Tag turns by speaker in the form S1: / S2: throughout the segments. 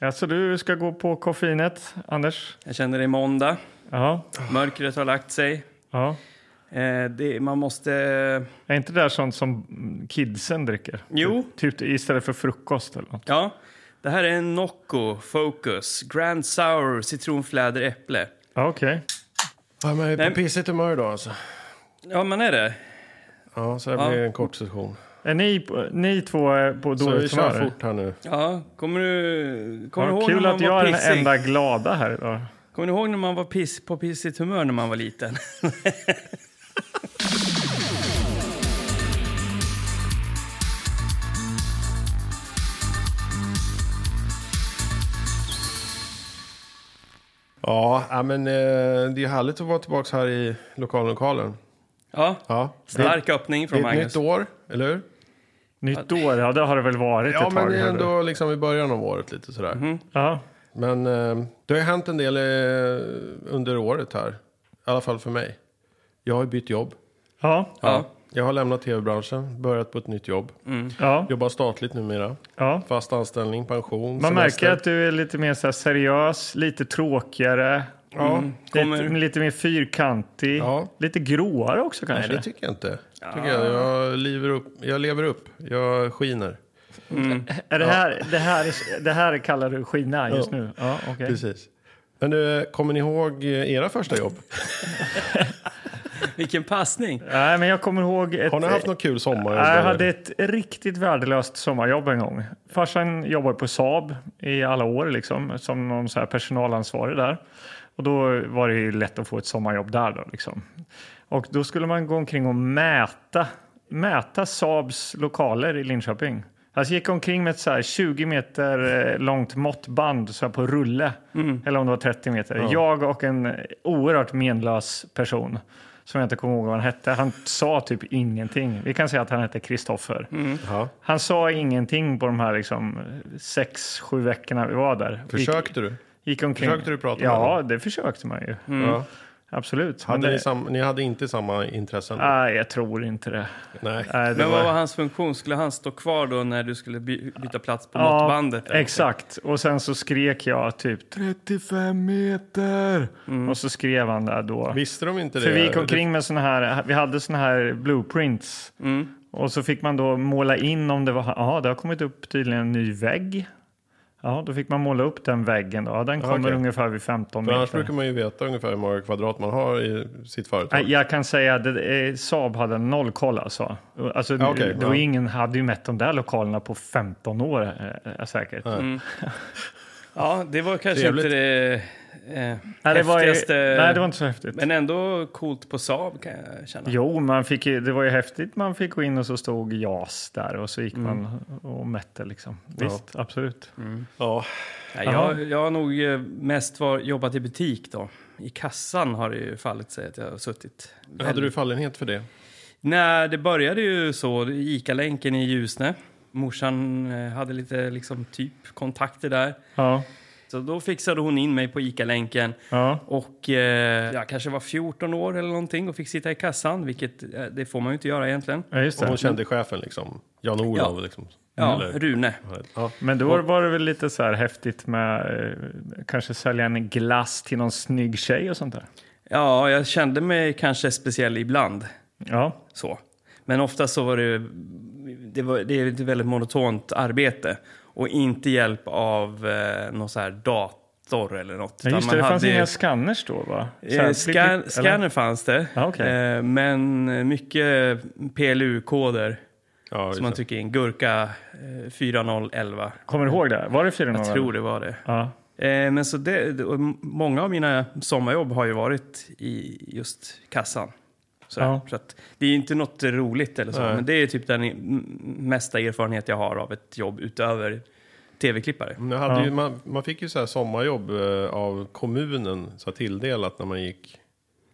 S1: Alltså du ska gå på koffeinet, Anders?
S2: Jag känner det är måndag.
S1: Ja.
S2: Mörkret har lagt sig.
S1: ja.
S2: Eh, det, man måste...
S1: Är inte det där sånt som kidsen dricker?
S2: Jo.
S1: Typ istället för frukost eller något.
S2: Ja, det här är en Nocco Focus Grand Sour citronfläder äpple.
S1: Ja, okej.
S3: Ja, men jag är
S2: Nej.
S3: på pissigt humör idag alltså.
S2: Ja, man är det.
S3: Ja, så det
S2: Ja.
S3: blir en kort session.
S1: Är ni, på- ni två är på
S3: Så vi
S1: dåligt
S3: kör
S1: humör?
S3: fort här nu.
S2: Ja, kommer du, kommer du
S1: Ja,
S2: ihåg
S1: kul
S2: när
S1: att
S2: man var
S1: jag är den
S2: pissig?
S1: enda glada här idag.
S2: Kommer du ihåg när man var piss, på pissigt humör när man var liten?
S3: Ja, ja men eh, det är härligt att vara tillbaka här i lokallokalen.
S2: Ja,
S3: Ja, det, är-
S2: stark öppning
S3: det
S2: från
S3: är ett
S2: Magnus.
S3: nytt år, eller hur?
S1: Nytt år, ja det har det väl varit
S3: Ja,
S1: ett
S3: men
S1: tag.
S3: det är
S1: hörru.
S3: ändå liksom i början av året lite sådär.
S1: Ja.
S3: Men eh, det har ju hänt en del eh, under året här. I alla fall för mig. Jag har ju bytt jobb.
S1: Ja.
S2: Ja.
S3: Jag har lämnat tv-branschen, börjat på ett nytt jobb.
S1: Ja.
S3: Jobbar statligt numera.
S1: ja.
S3: Fast anställning, pension,
S1: Man märker
S3: semester.
S1: att du är lite mer så här seriös, lite tråkigare. mm,
S3: Ja,
S1: Lite,
S2: Mm. Kommer,
S1: lite mer fyrkantig.
S3: Ja.
S1: Lite gråare också
S3: Nej,
S1: kanske.
S3: det tycker jag inte. Tycker jag. Jag, lever upp. jag lever upp. Jag skiner.
S1: är det, här, det, här är, det här kallar du skina just nu? Ja, okej.
S3: Precis. Men du, kommer ni ihåg eh, era första jobb?
S2: vilken passning!
S1: Nej, men jag kommer ihåg ett...
S3: Har ni haft någon kul sommar?
S1: Nej, Jag hade ett riktigt värdelöst sommarjobb en gång. Farsan jobbade på Saab i alla år liksom, som någon så här personalansvarig där. Och då var det ju lätt att få ett sommarjobb där. Då, liksom. Och då skulle man gå omkring och mäta, mäta Saabs lokaler i Linköping. Alltså jag gick omkring med ett så här 20 meter eh, långt måttband så här på rulle. Eller om det var 30 meter. Jag och en oerhört menlös person som jag inte kommer ihåg vad han hette. Han sa typ ingenting. Vi kan säga att han hette Kristoffer.
S2: Mm.
S3: Mm. Ja.
S1: Han sa ingenting på de här liksom, sex, sju veckorna vi var där.
S3: Försökte du?
S1: Gick, gick omkring.
S3: försökte du prata med
S1: Ja,
S3: honom?
S1: det försökte man ju.
S2: Mm.
S3: Ja.
S1: Absolut. Men
S3: Hade
S1: det,
S3: ni, sam- ni hade inte samma intressen?
S1: Nej, jag tror inte det.
S3: Nej.
S1: Nej, det
S2: Men vad var hans funktion? Skulle han stå kvar då när du skulle by, byta plats på måttbandet? eller?
S1: Exakt. Och sen så skrek jag typ 35 meter.
S2: Mm.
S1: Och så skrev han där då.
S3: Visste de inte det?
S1: För vi gick omkring med såna här, vi hade såna här blueprints.
S3: Mm.
S1: Och så fick man då måla in om det var, ja det har kommit upp tydligen en ny vägg. Ja, då fick man måla upp den väggen då. Ja, den kommer
S3: okej.
S1: ungefär vid 15
S3: För annars
S1: meter.
S3: brukar man ju veta ungefär hur många kvadrat man har i sitt företag.
S1: Nej, Jag kan säga att det- eh, Saab hade noll koll alltså. alltså
S3: Ja, okej,
S1: det var
S3: ja.
S1: Ingen hade ju mätt de där lokalerna på 15 år eh, eh, säkert.
S2: Ja, det var kanske
S3: Trevligt.
S2: inte det eh,
S1: Nej, det var, ju-
S2: häftigaste.
S1: nej, det var inte så häftigt.
S2: Men ändå coolt på Saab kan jag känna.
S1: Jo, man fick, ju- det var ju häftigt. Man fick gå in och så stod JAS där och så gick
S3: Mm.
S1: man och mätte liksom. Visst, absolut.
S3: Ja.
S2: Nej,
S1: Jaha.
S2: jag, jag har nog eh, mest var, jobbat i butik då. I kassan har det ju fallit sig att jag har suttit.
S3: Hade du fallenhet för det?
S2: Nej, det började ju så. Ica-länken i Ljusne. Morsan eh, hade lite liksom, typ kontakter där.
S1: Ja,
S2: Så då fixade hon in mig på Ica-länken.
S1: ja.
S2: Och eh, jag kanske var 14 år eller någonting och fick sitta i kassan, vilket eh, det får man ju inte göra egentgen.
S1: ja just
S3: Och hon
S1: det.
S3: kände chefen liksom? Jan-Olov
S2: Ja.
S3: liksom?
S2: Ja,
S3: Eller-
S2: Rune.
S3: Ja.
S1: Men då var det väl lite så här häftigt med eh, kanske sälja en glass till någon snygg tjej och sånt där.
S2: Ja, jag kände mig kanske speciell ibland.
S1: Ja,
S2: Så. Men ofta så var det, det, var, det är ett väldigt monotont arbete och inte hjälp av eh, någon så här dator eller något.
S1: ja
S2: Utan
S1: just
S2: man
S1: det. Det fanns
S2: hade-
S1: inga scanners då va? Så
S2: Eh,
S1: här,
S2: scan,
S1: eller?
S2: scanner fanns det,
S1: Ja, okej.
S2: eh, men mycket PLU-koder
S3: Ja,
S2: som man tycker är en gurka eh, 4011.
S1: Kommer du ihåg det? Var det 400?
S2: Jag tror det var det.
S1: Ja.
S2: Eh, men så det, det- och många av mina sommarjobb har ju varit i just kassan. Så,
S1: Ja.
S2: så att, det är ju inte något roligt eller så,
S3: Nej.
S2: men det är typ den i- m- mesta erfarenhet jag har av ett jobb utöver tv-klippare.
S3: Men jag hade
S1: Ja.
S3: ju, man, man fick ju så här sommarjobb eh, av kommunen så här tilldelat när man gick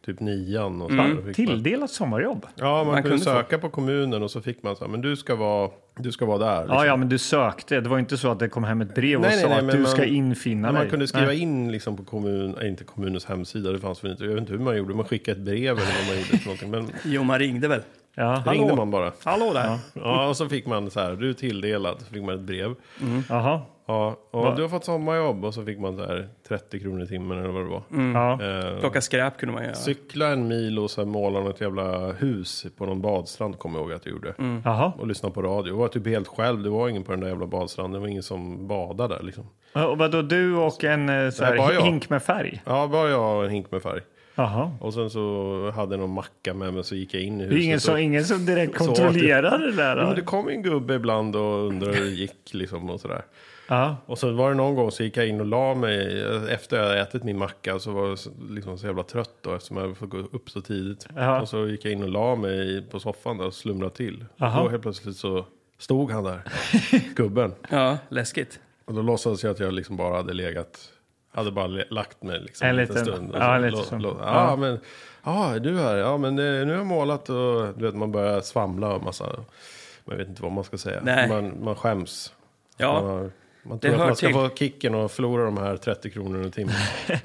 S3: typ nian. Och så där. Då fick man-
S1: Mm. Tilldelat sommarjobb?
S3: Ja,
S2: Man
S3: man, kunde,
S2: kunde få.
S3: söka på kommunen och så fick man så här, men du ska vara, du ska vara där. liksom.
S1: Ja, ja, men du sökte. Det var inte så att det kom hem ett brev och
S3: Nej, nej,
S1: sa
S3: nej,
S1: att
S3: men
S1: du
S3: man-
S1: ska infinna
S3: Men
S1: dig.
S3: man kunde skriva
S1: Nej.
S3: in liksom på kommun, nej, inte kommunens hemsida, det fanns väl inte, jag vet inte hur man gjorde, man skickade ett brev eller vad man gjorde för någonting. Men
S2: Jo, man ringde väl?
S1: Ja,
S3: ringde
S1: hallå.
S3: man bara.
S2: Hallå där!
S3: Ja, och så fick man så här, du är tilldelad, så fick man ett brev.
S1: Jaha.
S3: Ja,
S1: Va?
S3: och du har fått sommarjobb och så fick man så här 30 kronor i timmen eller vad det var.
S1: Ja.
S3: Eh,
S2: Plocka skräp kunde man göra.
S3: Cykla en mil och sen måla något jävla hus på någon badstrand kommer jag ihåg att du gjorde.
S1: Jaha.
S3: Och lyssna på radio. Jag var typ helt själv, det var ingen på den där jävla badstranden. Det var ingen som badade där liksom.
S1: Ja, Och vadå, du och en eh, så
S3: Nej,
S1: här,
S3: bara jag.
S1: hink med färg?
S3: Ja, bara jag och en hink med färg.
S1: Jaha.
S3: Och sen så hade jag någon macka med mig så gick jag in i huset.
S1: Det är ingen som,
S3: och...
S1: ingen som direkt
S3: Så-
S1: kontrollerar det där? alltså.
S3: Ja, men det
S1: eller?
S3: kom ju en gubbe ibland och undrade hur det gick liksom och sådär.
S1: Ja.
S3: Och så var det någon gång så gick jag in och la mig eh, efter jag hade ätit min macka. Så var jag så- liksom så jävla trött då eftersom jag fick gå upp så tidigt.
S1: Jaha.
S3: Och så gick jag in och la mig på soffan där och slumrade till.
S1: Jaha.
S3: Och då helt plötsligt så stod han där, gubben.
S2: Ja, läskigt.
S3: Och då låtsades jag att jag liksom bara hade legat, hade bara le- lagt mig liksom.
S1: En liten-
S3: Och
S1: ja,
S3: så
S1: en liten
S3: lå-
S1: stund.
S3: lå-
S1: Ja.
S3: Ja, men, ja, är du här, ja men eh, nu har jag målat och du vet man börjar svamla och massa. Man vet inte vad man ska säga.
S2: Nej.
S3: Man, man skäms. Man,
S2: Ja,
S3: har, man
S2: Det
S3: tror
S2: hör
S3: att man ska
S2: till.
S3: få kicken och förlora de här 30 kronorna i timmen.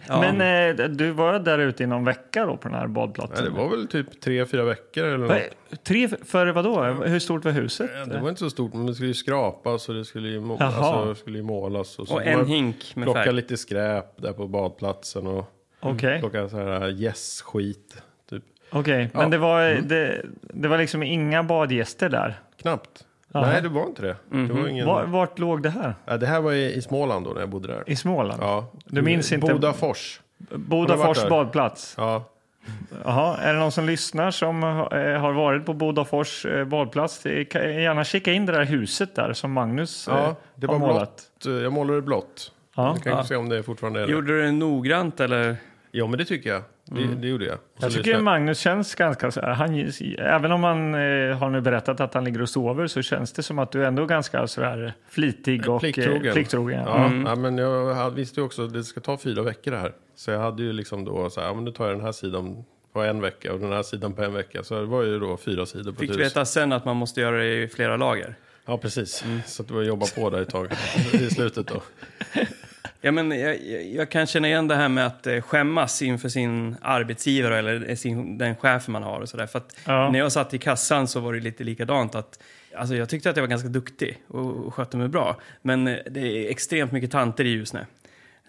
S2: ja.
S1: Men eh, du var där ute i någon vecka då på den här badplatsen?
S3: Nej, det var väl typ tre, fyra veckor eller något.
S1: Nej, Tre, för vadå? Hur stort var huset?
S3: Det var inte så stort, men det skulle ju skrapas och det skulle ju, må-
S1: Jaha.
S3: alltså, det skulle ju målas. Och, så
S2: och
S3: Man
S2: en hink med
S3: Plocka
S2: färg.
S3: lite skräp där på badplatsen och
S1: Okej,
S3: plocka så här gässskit. Typ.
S1: okej. men
S3: Mm. Ja. Mm.
S1: det, var, det, det var liksom inga badgäster där.
S3: Knappt.
S1: Jaha.
S3: Nej, det var inte det. Det, var ingen...
S1: Var, vart låg det här?
S3: Ja, det här var i, i Småland då, när jag bodde där.
S1: I Småland?
S3: Ja.
S1: Du minns inte-
S3: Bodafors. Har du
S1: Bodafors
S3: varit där?
S1: badplats?
S3: Ja.
S1: Jaha, är det någon som lyssnar som eh, har varit på Bodafors eh, badplats? Eh, kan- Gärna kika in det där huset där som Magnus eh,
S3: ja, det
S1: har
S3: var
S1: målat.
S3: blått. Jag målade det blått.
S1: Ja.
S3: Du kan
S2: Ja.
S3: ju se om det fortfarande är det.
S2: Gjorde du det noggrant eller?
S3: Ja, men det tycker jag. Det, det gjorde jag. Och så
S1: Jag tycker
S3: lyssnade-
S1: Magnus känns ganska så här, han, även om han eh, har nu berättat att han ligger och sover så känns det som att du är ändå ganska så här flitig och
S3: Plikttrogen.
S1: Eh, plikttrogen. Ja.
S3: Ja, ja, men jag hade- visste ju också att det ska ta fyra veckor det här. Så jag hade ju liksom då så här, ja men nu tar jag den här sidan på en vecka och den här sidan på en vecka. Så det var ju då fyra sidor på
S2: Fick
S3: ett
S2: du
S3: hus.
S2: veta sen att man måste göra det i flera lager?
S3: Ja, precis.
S2: Mm.
S3: Så att det var jobba på där ett tag i slutet då.
S2: Ja, men jag, jag- jag kan känna igen det här med att eh, skämmas inför sin arbetsgivare eller eh, sin, den chef man har. Och så där. För att
S1: Ja.
S2: När jag satt i kassan så var det lite likadant. Att, alltså, jag tyckte att jag var ganska duktig och, och skötte mig bra. Men eh, det är extremt mycket tanter i Ljusne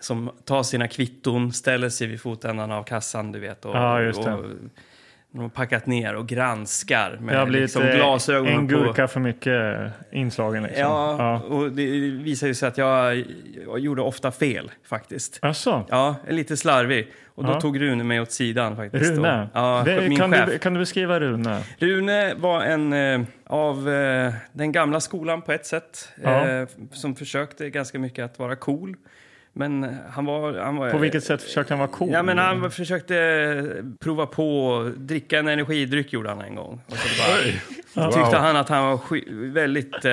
S2: som tar sina kvitton, ställer sig vid fotändan av kassan, du vet. Och,
S1: Ja, just det.
S2: Och, de har packat ner och granskar med
S1: Det har blivit
S2: liksom,
S1: eh,
S2: glasögonen
S1: en
S2: på.
S1: gurka liksom. för mycket inslagen liksom.
S2: Ja, och det visar ju sig att jag, jag gjorde ofta fel faktiskt.
S1: Jaså?
S2: Ja, lite slarvig. Och då
S1: Ja.
S2: tog Rune mig åt sidan faktiskt.
S1: Rune?
S2: Och, ja,
S1: det,
S2: min
S1: kan,
S2: chef.
S1: du, kan du beskriva Rune?
S2: Rune var en eh, av eh, den gamla skolan på ett sätt.
S1: Ja.
S2: Eh, som försökte ganska mycket att vara cool. Men han var... Han var
S1: På vilket sätt försökte han vara cool?
S2: Eh, Ja, men han försökte eh, prova på att dricka en energidryck gjorde han en gång. Och så bara,
S3: Wow.
S2: tyckte han att han var sky- väldigt eh,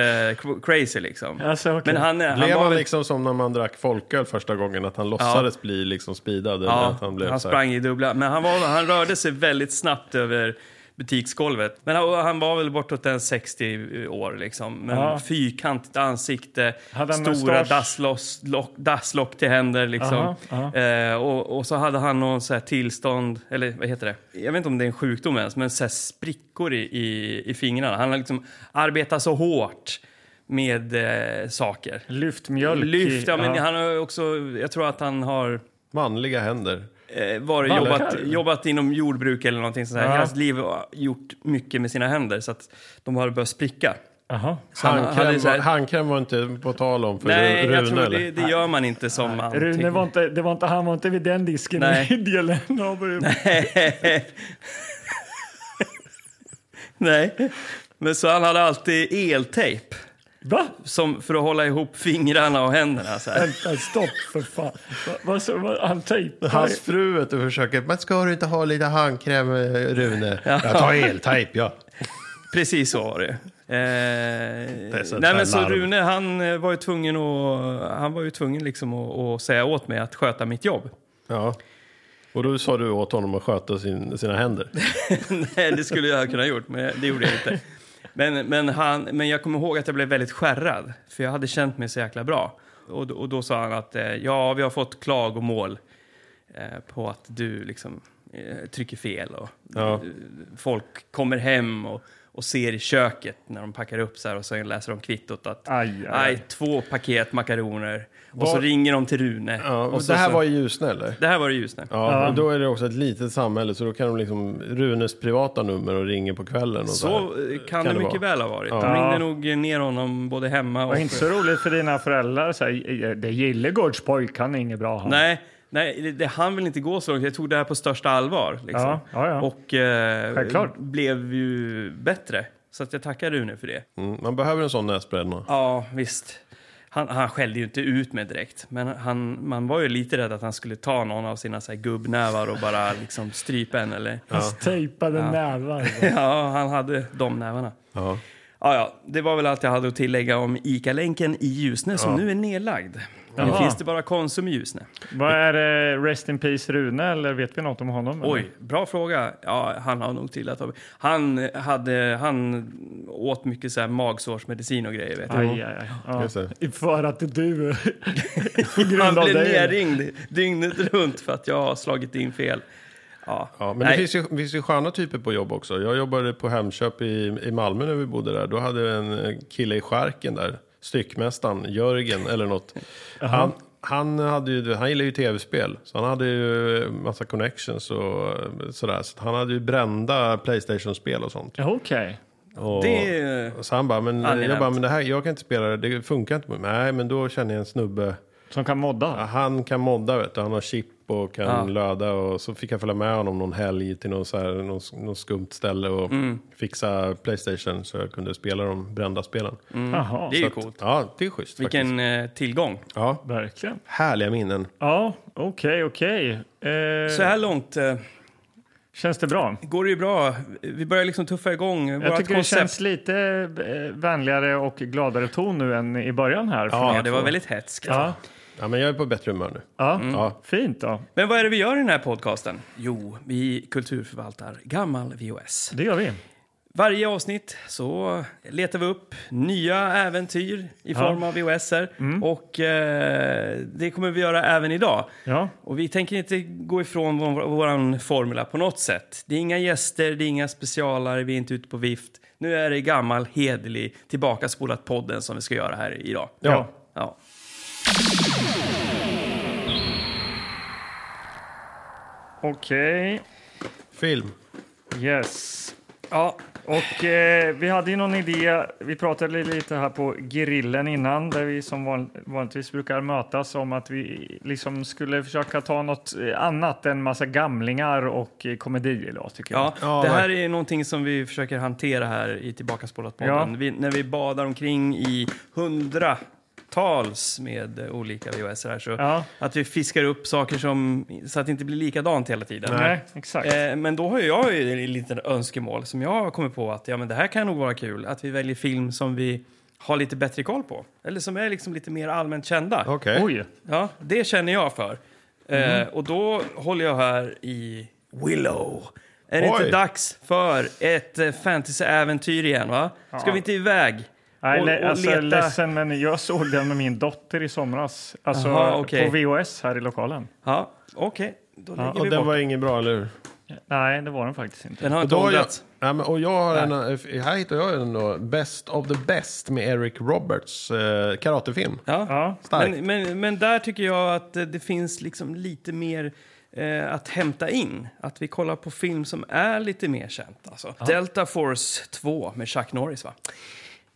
S2: crazy liksom.
S1: Alltså, okej.
S2: Men han, han
S3: Blev
S2: var
S3: han
S2: väl-
S3: liksom som när man drack folköl första gången, att han låtsades bli liksom speedad? eller
S2: Ja,
S3: att han blev så här-
S2: sprang i dubbla. Men han, var, han rörde sig väldigt snabbt över butiksgolvet. Men han, han var väl bortåt en 60 år liksom. Men
S1: Ja.
S2: fyrkantigt ansikte,
S1: Hade han
S2: stora
S1: mustasch?
S2: dassloss- lock- dasslock till händer liksom.
S1: Aha,
S2: Eh, och, och så hade han någon så här tillstånd, eller vad heter det? Jag vet inte om det är en sjukdom ens, men så här sprickor i, i, i fingrarna. Han har liksom arbetat så hårt med eh, saker.
S1: Lyftmjölk? i-
S2: Lyft, ja, men
S1: ja.
S2: han har också, jag tror att han har
S3: Manliga händer.
S2: eh, varit,
S1: Valkar.
S2: jobbat, jobbat inom jordbruk eller någonting sånt.
S1: Ja.
S2: Ja. Hela sitt liv har gjort mycket med sina händer så att de har börjat spricka.
S1: Jaha.
S2: Så han- han
S3: Handkräm
S2: hade så här-
S3: var, handkräm var inte på tal om för
S2: Nej,
S3: Rune
S2: jag tror
S3: eller?
S2: det, det gör man inte som man
S1: Rune
S2: tycker.
S1: var inte, det var inte, han var inte vid den disken
S2: Nej.
S1: i delen. av-
S2: Nej, men så han hade alltid eltejp
S1: Va?
S2: som, för att hålla ihop fingrarna och händerna. Så här.
S1: Vänta, stopp för fan. Va, vad så- vad- han tejpar?
S3: Hans fru vet du försöker, men ska du inte ha lite handkräm eh, Rune? Ja, ta eltejp ja.
S2: Precis så var det. Eh,
S3: är så
S2: nej men
S3: ett
S2: så
S3: larm.
S2: Rune han eh, var ju tvungen, att, han var ju tvungen liksom att, att säga åt mig att sköta mitt jobb.
S3: Ja. Och då sa du åt honom att sköta sin, sina händer.
S2: Nej, det skulle jag ha kunnat gjort, men det gjorde jag inte. Men, men, han, men jag kommer ihåg att jag blev väldigt skärrad, för jag hade känt mig så jäkla bra. Och, då- och då sa han att eh, ja, vi har fått klagomål eh, på att du liksom eh, trycker fel och
S3: Ja.
S2: folk kommer hem och, och ser i köket när de packar upp så här och sen läser de kvittot att
S1: Aj, aj,
S2: aj,
S1: aj.
S2: två paket makaroner. Och
S3: Var-
S2: så ringer de till Rune.
S3: Ja,
S2: och så,
S3: det här
S2: så,
S3: var i Ljusne eller?
S2: det här var det Ljusne.
S3: Ja,
S1: Ja.
S3: och då är det också ett litet samhälle så då kan de liksom Runes privata nummer och ringer på kvällen. Och så
S2: Så
S3: här.
S2: eh, kan,
S3: kan
S2: det
S3: det
S2: mycket
S3: vara.
S2: väl ha varit.
S3: Ja.
S2: De ringde nog ner honom både hemma
S1: Det var
S2: och...
S1: inte så roligt för dina föräldrar. Så här, det är Gillegårds pojk, han är inget bra. Han.
S2: Nej, nej det, det, han vill inte gå så långt. Jag tog det här på största allvar. Liksom.
S1: Ja, ja, ja.
S2: Och eh,
S1: Självklart.
S2: blev ju bättre. Så att jag tackar Rune för det.
S3: Mm, man behöver en sån näsbränna.
S2: Ja, visst. Han, han skällde ju inte ut mig direkt, men han, man var ju lite rädd att han skulle ta någon av sina så här, gubbnävar och bara liksom strypa en. Eller...
S1: Han tejpade nävar.
S2: Ja, han hade de nävarna.
S3: Ja.
S2: Ja, ja, det var väl allt jag hade att tillägga om ICA-länken i Ljusne som nu är nedlagd. Nu
S1: Jaha.
S2: finns det bara Konsum i Ljusne.
S1: Vad är det, Rest in Peace Rune eller vet vi något om honom? eller?
S2: Oj, bra fråga. Ja, han har nog trillat av. Han, hade, han åt mycket så här magsårsmedicin och grejer. Vet
S1: Aj, aj, aj. Ja.
S3: Just det.
S1: För att du... på
S2: du.
S1: grund
S2: Han
S1: av
S2: blev
S1: dig.
S2: nerringd dygnet runt för att jag har slagit in fel. Ja,
S3: Ja, men
S2: nej.
S3: det finns ju, finns ju sköna typer på jobb också. Jag jobbade på Hemköp i, i Malmö när vi bodde där. Då hade en eh, kille i skärken där, styckmästaren Jörgen eller något. Han, han, hade ju, han gillade ju tv-spel, så han hade ju eh, massa connections och eh, sådär. Så att han hade ju brända Playstation-spel och sånt.
S1: Ja, Okej.
S3: Och,
S2: Det är-
S3: och så han bara, men,
S2: Angenämt.
S3: jag bara, men det här, jag kan inte spela det, det funkar inte. Nej, men då känner jag en snubbe.
S1: Som kan modda?
S3: Ja, Han kan modda, vet du. han har chip och kan
S2: Ja.
S3: löda. Och så fick jag följa med honom någon helg till någon, så här, någon, någon skumt ställe och
S2: Mm.
S3: fixa Playstation så jag kunde spela de brända spelen.
S1: Jaha,
S2: Mm. det är ju
S3: Att-
S2: coolt.
S3: Ja, det är schysst faktiskt.
S2: Vilken eh, tillgång.
S3: Ja,
S1: verkligen.
S3: härliga minnen.
S1: Ja, okej, okej. Eh,
S2: Så här långt eh,
S1: Känns det bra?
S2: går det ju bra. Vi börjar liksom tuffa igång
S1: Jag
S2: vårt
S1: tycker det känns
S2: koncept.
S1: lite eh, vänligare och gladare ton nu än i början här. från er
S2: Ja, det var
S1: två.
S2: väldigt hätskt.
S1: Ja,
S3: Ja, men jag är på bättre humör nu.
S1: ja.
S2: Mm.
S3: Ja.
S1: Fint då.
S2: Men vad är det vi gör i den här podcasten? Jo, vi kulturförvaltar gammal VOS.
S1: Det gör vi.
S2: Varje avsnitt så letar vi upp nya äventyr i form av VHSer. Och eh, det kommer vi göra även idag.
S1: Ja.
S2: Och vi tänker inte gå ifrån vår, våran formula på något sätt. Det är inga gäster, det är inga specialare, vi är inte ute på vift. Nu är det gammal, hederlig, tillbakaspolat podden som vi ska göra här idag.
S1: Ja.
S2: Ja.
S1: Okej.
S3: Film.
S1: Yes.
S2: ja.
S1: Och eh, vi hade ju någon idé. Vi pratade lite här på grillen innan där vi som van, vanligtvis brukar mötas om att vi liksom skulle försöka ta något eh, annat än massa gamlingar och eh, komedier idag tycker jag.
S2: Ja,
S3: Ja,
S2: det här är någonting som vi försöker hantera här i Tillbakaspolat-podden.
S1: Ja.
S2: Vi, när vi badar omkring i hundratals med eh, olika VHS här, så
S1: Ja.
S2: att vi fiskar upp saker som, så att det inte blir likadant hela tiden.
S1: Nej, exakt.
S2: Eh, Men då har ju jag ju ett litet önskemål som jag har kommit på att ja, men det här kan nog vara kul. Att vi väljer film som vi har lite bättre koll på. Eller som är liksom lite mer allmänt kända.
S3: Okej.
S1: Oj.
S2: Ja, det känner jag för.
S3: Mhm.
S2: Eh, och då håller jag här i Willow. Är det
S3: Oj.
S2: inte dags för ett eh, fantasyäventyr igen? va? Ska vi inte iväg?
S1: Nej,
S2: och-
S1: le-
S2: och
S1: alltså,
S2: leta-
S1: ledsen, men jag såg den med min dotter i somras. Alltså
S2: Aha, okej.
S1: på VHS här i lokalen.
S2: Ja, Okej, då lägger
S3: Och
S2: vi
S3: den
S2: bort.
S3: var ingen bra, eller hur?
S1: Nej, det var den faktiskt inte.
S2: Den har
S3: Och,
S2: inte
S3: då har jag,
S2: åldrats.
S3: nej, men, och jag har en, eh, här hittar jag en då, Best of the Best med Eric Roberts eh, karatefilm.
S2: Ja.
S1: Ja.
S3: Stark.
S2: Men, men, men där tycker jag att eh, det finns liksom lite mer eh, att hämta in. Att vi kollar på film som är lite mer känt. Alltså. Delta Force 2 med Chuck Norris. Va?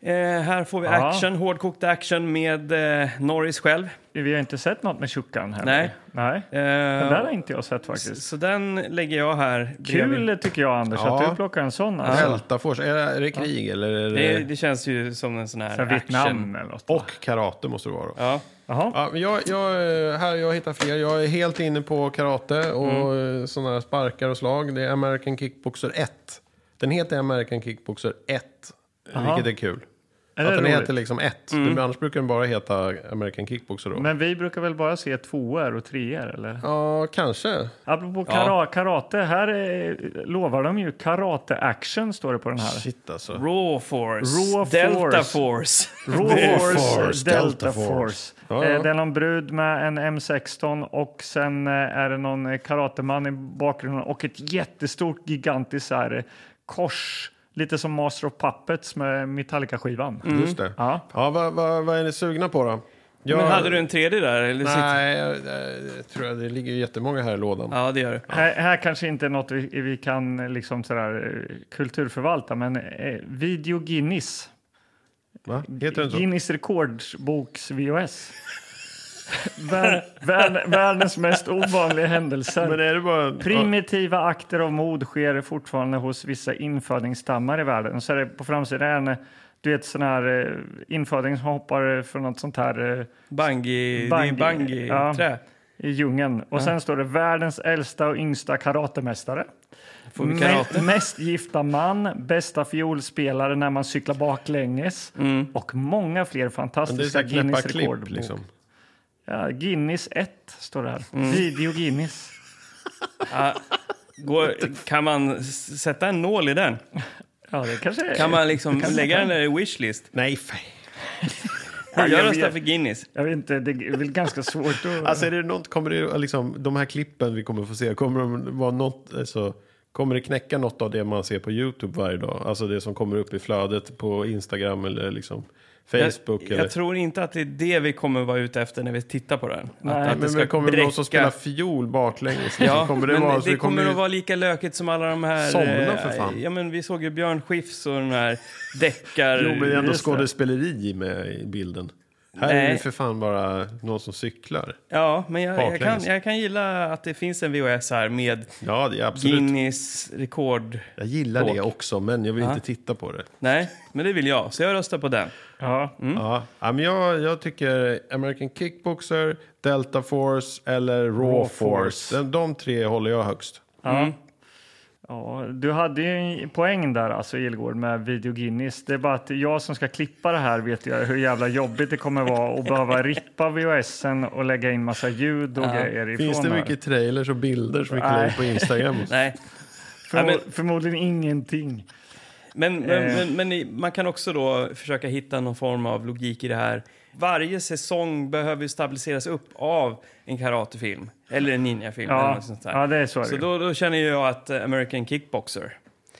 S2: Eh, här får vi
S1: Ja.
S2: action, hårdkokt action med eh, Norris själv.
S1: Vi har inte sett något med Tjuckan heller.
S2: Nej.
S1: Nej.
S2: Eh,
S1: Den där har inte jag sett
S2: så,
S1: faktiskt.
S2: så den lägger jag här. bredvid.
S1: Kul tycker jag Anders
S3: Ja.
S1: att du plockar en sån. Alltså.
S3: Deltafors, är, det- är det krig eller? Är
S2: Det,
S3: det,
S2: det känns ju som en sån här
S1: Från
S2: action.
S1: Vietnam eller något.
S3: och karate måste det vara då.
S2: Ja.
S1: Jaha.
S3: Ja, men jag, jag, eh, här, jag hittar fler. Jag är helt inne på karate och mm. sådana här sparkar och slag. Det är American Kickboxer 1. Den heter American Kickboxer 1,
S1: Jaha.
S3: vilket är kul.
S1: Är det
S3: att den
S1: roligt? Mm.
S3: heter liksom 1. Annars brukar den bara heta American Kickboxer då.
S1: Men vi brukar väl bara se tvåor och treor eller?
S3: Ja, kanske.
S1: Apropå kara- karate, här eh, lovar de ju karate-action står det på den här.
S3: Shit alltså.
S2: Raw Force,
S1: Raw
S2: Delta
S1: Force.
S2: Force.
S1: Raw
S3: Force,
S1: Force,
S3: Delta
S1: Delta
S3: Force.
S1: Force.
S3: Ja, ja.
S1: Eh, Det är någon brud med en M16 och sen eh, är det någon eh, karateman i bakgrunden och ett jättestort gigantiskt så här, eh, kors Lite som Master of Puppets med Metallica-skivan.
S3: Just det.
S1: Mm. Ja.
S3: Ja, vad, vad, vad är ni sugna på då? Jag-
S2: Men hade du en 3D där? Eller sitter-
S3: Nej, jag, jag, jag tror att det ligger ju jättemånga här i lådan.
S2: Ja, det gör det.
S1: Här, här kanske inte är något vi, vi kan eh, liksom sådär, eh, kulturförvalta, men eh, video Guinness.
S3: Va? Heter den så?
S1: Guinness rekordsboks-VHS. Vär, vär, världens mest ovanliga händelser.
S3: Men är det bara...
S1: Primitiva akter av mod sker fortfarande hos vissa infödingsstammar i världen. Så är det på framsidan en du vet, sån här eh, inföding som hoppar eh, från något sånt här eh,
S2: Bungie,
S1: Bungie.
S2: Det är bungie
S1: Ja.
S2: trä.
S1: i djungeln. Och sen står det världens äldsta och yngsta karatemästare.
S2: Får vi karate?
S1: Me- mest gifta man, bästa fiolspelare när man cyklar baklänges och många fler
S3: Ja, Mm. Det är så
S1: fantastiska
S3: här knäppa
S1: Guinness
S3: klipp
S1: rekordbok.
S3: liksom. Mm.
S1: Ja, Guinness 1 står det här. Video Guinness.
S2: Ja. Går, kan man s- sätta en nål i den?
S1: Ja, det kanske är.
S2: Kan man liksom lägga den där i wishlist?
S3: Nej, fan.
S1: Ja,
S2: Jag
S1: jag
S2: röstar
S1: vet.
S2: för Guinness.
S1: Jag vet inte, det är väl ganska svårt att...
S3: Alltså är det något, kommer det liksom, de här klippen vi kommer få se, kommer de vara något, alltså, kommer det knäcka något av det man ser på YouTube varje dag? Alltså det som kommer upp i flödet på Instagram eller liksom
S2: jag,
S3: Facebook? eller?
S2: jag tror inte att det är det vi kommer vara ute efter när vi tittar på den.
S1: Nej,
S2: att, att det
S3: men,
S2: ska
S3: men kommer det
S2: bräcka.
S3: någon som spelar fiol baklänges?
S2: Ja,
S3: Så kommer det
S2: men
S3: vara, så
S2: det
S3: vi
S2: kommer
S3: ju-
S2: att vara lika lökigt som alla de här...
S3: Somna
S2: eh,
S3: för fan.
S2: Ja, men vi såg ju Björn Skifs och den här deckar...
S3: Jo, men det är ändå
S1: Just det.
S3: skådespeleri med i bilden. Här är
S2: Nej.
S3: det ju för fan bara någon som cyklar.
S2: Ja, men jag, jag, kan,
S3: Baklänges.
S2: jag kan gilla att det finns en VHS här med
S3: Ja, det är absolut.
S2: Guinness rekord...
S3: Jag gillar
S2: Tåg.
S3: det också, men jag vill inte titta på det.
S2: Nej, men det vill jag, så jag röstar på den.
S1: Ja.
S3: Ja, ja, men jag, jag tycker American Kickboxer, Delta Force eller Raw, Force.
S1: Force.
S3: Den, de tre håller jag högst.
S2: Mm,
S1: Ja, du hade ju en poäng där, alltså Ilgård, med Video Guinness. Det är bara att jag som ska klippa det här vet jag hur jävla jobbigt det kommer vara att behöva rippa VHSen och lägga in massa ljud och grejer ifrån
S3: Finns det
S1: här.
S3: mycket trailers och bilder som vi kan
S1: Nej.
S3: lägga ut på Instagram?
S2: Nej.
S1: Förmo-
S2: Ja, men-
S1: Förmodligen ingenting.
S2: Men, men,
S1: Eh.
S2: men, men i- man kan också då försöka hitta någon form av logik i det här. Varje säsong behöver ju stabiliseras upp av en karatefilm eller en ninjafilm. eller
S1: Ja,
S2: något sånt där.
S1: ja det är så. är det
S2: Så
S1: ju.
S2: då, då känner jag att eh, American Kickboxer,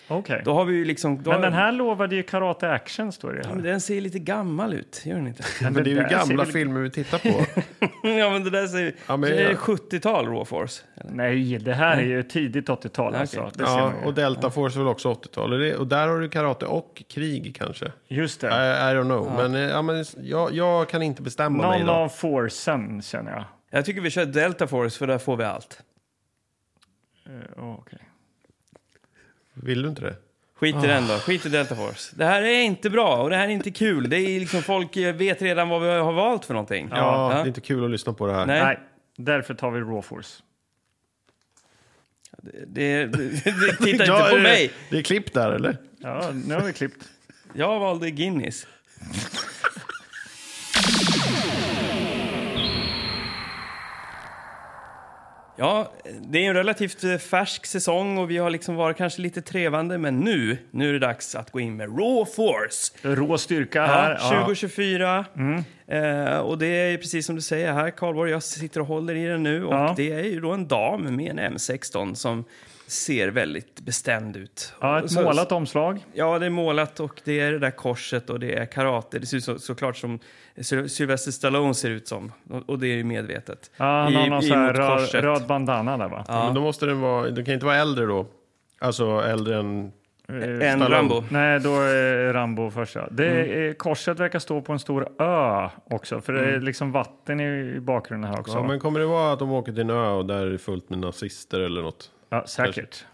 S1: Okej.
S2: då har vi ju liksom... Då
S1: Men den här lovade ju karate action, står det ju
S2: Ja,
S1: här.
S2: men Den ser lite gammal ut, gör den inte?
S1: Men
S3: Men det är ju
S1: där ser
S3: gamla
S1: väl-
S3: filmer vi tittar på.
S2: ja, men det där ser...
S3: Ja, men-
S2: det är 70-tal Raw Force.
S1: Nej, det här är ju tidigt 80-tal alltså. Det ser
S3: ja,
S1: man ju.
S3: och Delta Force är väl också 80-tal. Och det- Och där har du karate och krig kanske.
S1: Just
S3: I, I
S1: det.
S3: don't know. Men, eh, ja, men jag, jag kan inte bestämma mig
S1: Någon
S3: idag.
S1: av forcen, känner jag.
S2: Jag tycker vi kör Delta Force, för där får vi allt.
S1: Uh, okay.
S3: Vill du inte det?
S2: Skit i den då, skit i Delta Force. Det här är inte bra och det här är inte kul. Det är liksom, folk eh, vet redan vad vi har valt för någonting.
S3: Ja,
S2: Ja.
S3: det är inte kul att lyssna på det här.
S2: Nej,
S1: Nej, därför tar vi raw force.
S2: Det, det, det, titta
S3: Ja,
S2: inte
S3: är
S2: på
S3: det-
S2: mig.
S3: Det är klipp där, eller?
S1: Ja, nu har vi klippt.
S2: Jag valde Guinness. Ja, det är en relativt eh, färsk säsong och vi har liksom varit kanske lite trevande, men nu, nu är det dags att gå in med Raw Force.
S1: Rå styrka här.
S2: Ja, 2024.
S1: Mm.
S2: Eh, och det är ju precis som du säger här, Karlborg, jag sitter och håller i den nu. Och
S1: Ja.
S2: det är ju då en dam med en M16 som ser väldigt bestämd ut.
S1: Ja, ett
S2: Så-
S1: målat omslag.
S2: Ja, det är målat och det är det där korset och det är karate. Det ser ut så, såklart som Sy- Sylvester Stallone ser ut som. Och, och det är ju medvetet.
S1: Ja, han har någon sån här
S2: mot korset.
S1: röd, röd bandana där, va?
S3: Men då måste den vara... Den kan inte vara äldre då. Alltså äldre än...
S1: Eh,
S2: En
S3: Stallone.
S2: Rambo.
S1: Nej, då är Rambo först. Ja. Det, eh, Korset verkar stå på en stor ö också, för det är
S2: Mm.
S1: liksom vatten i, i bakgrunden här också.
S3: Ja,
S1: Ja,
S3: men kommer det vara att de åker till en ö och där är det fullt med nazister eller något?
S1: säkert.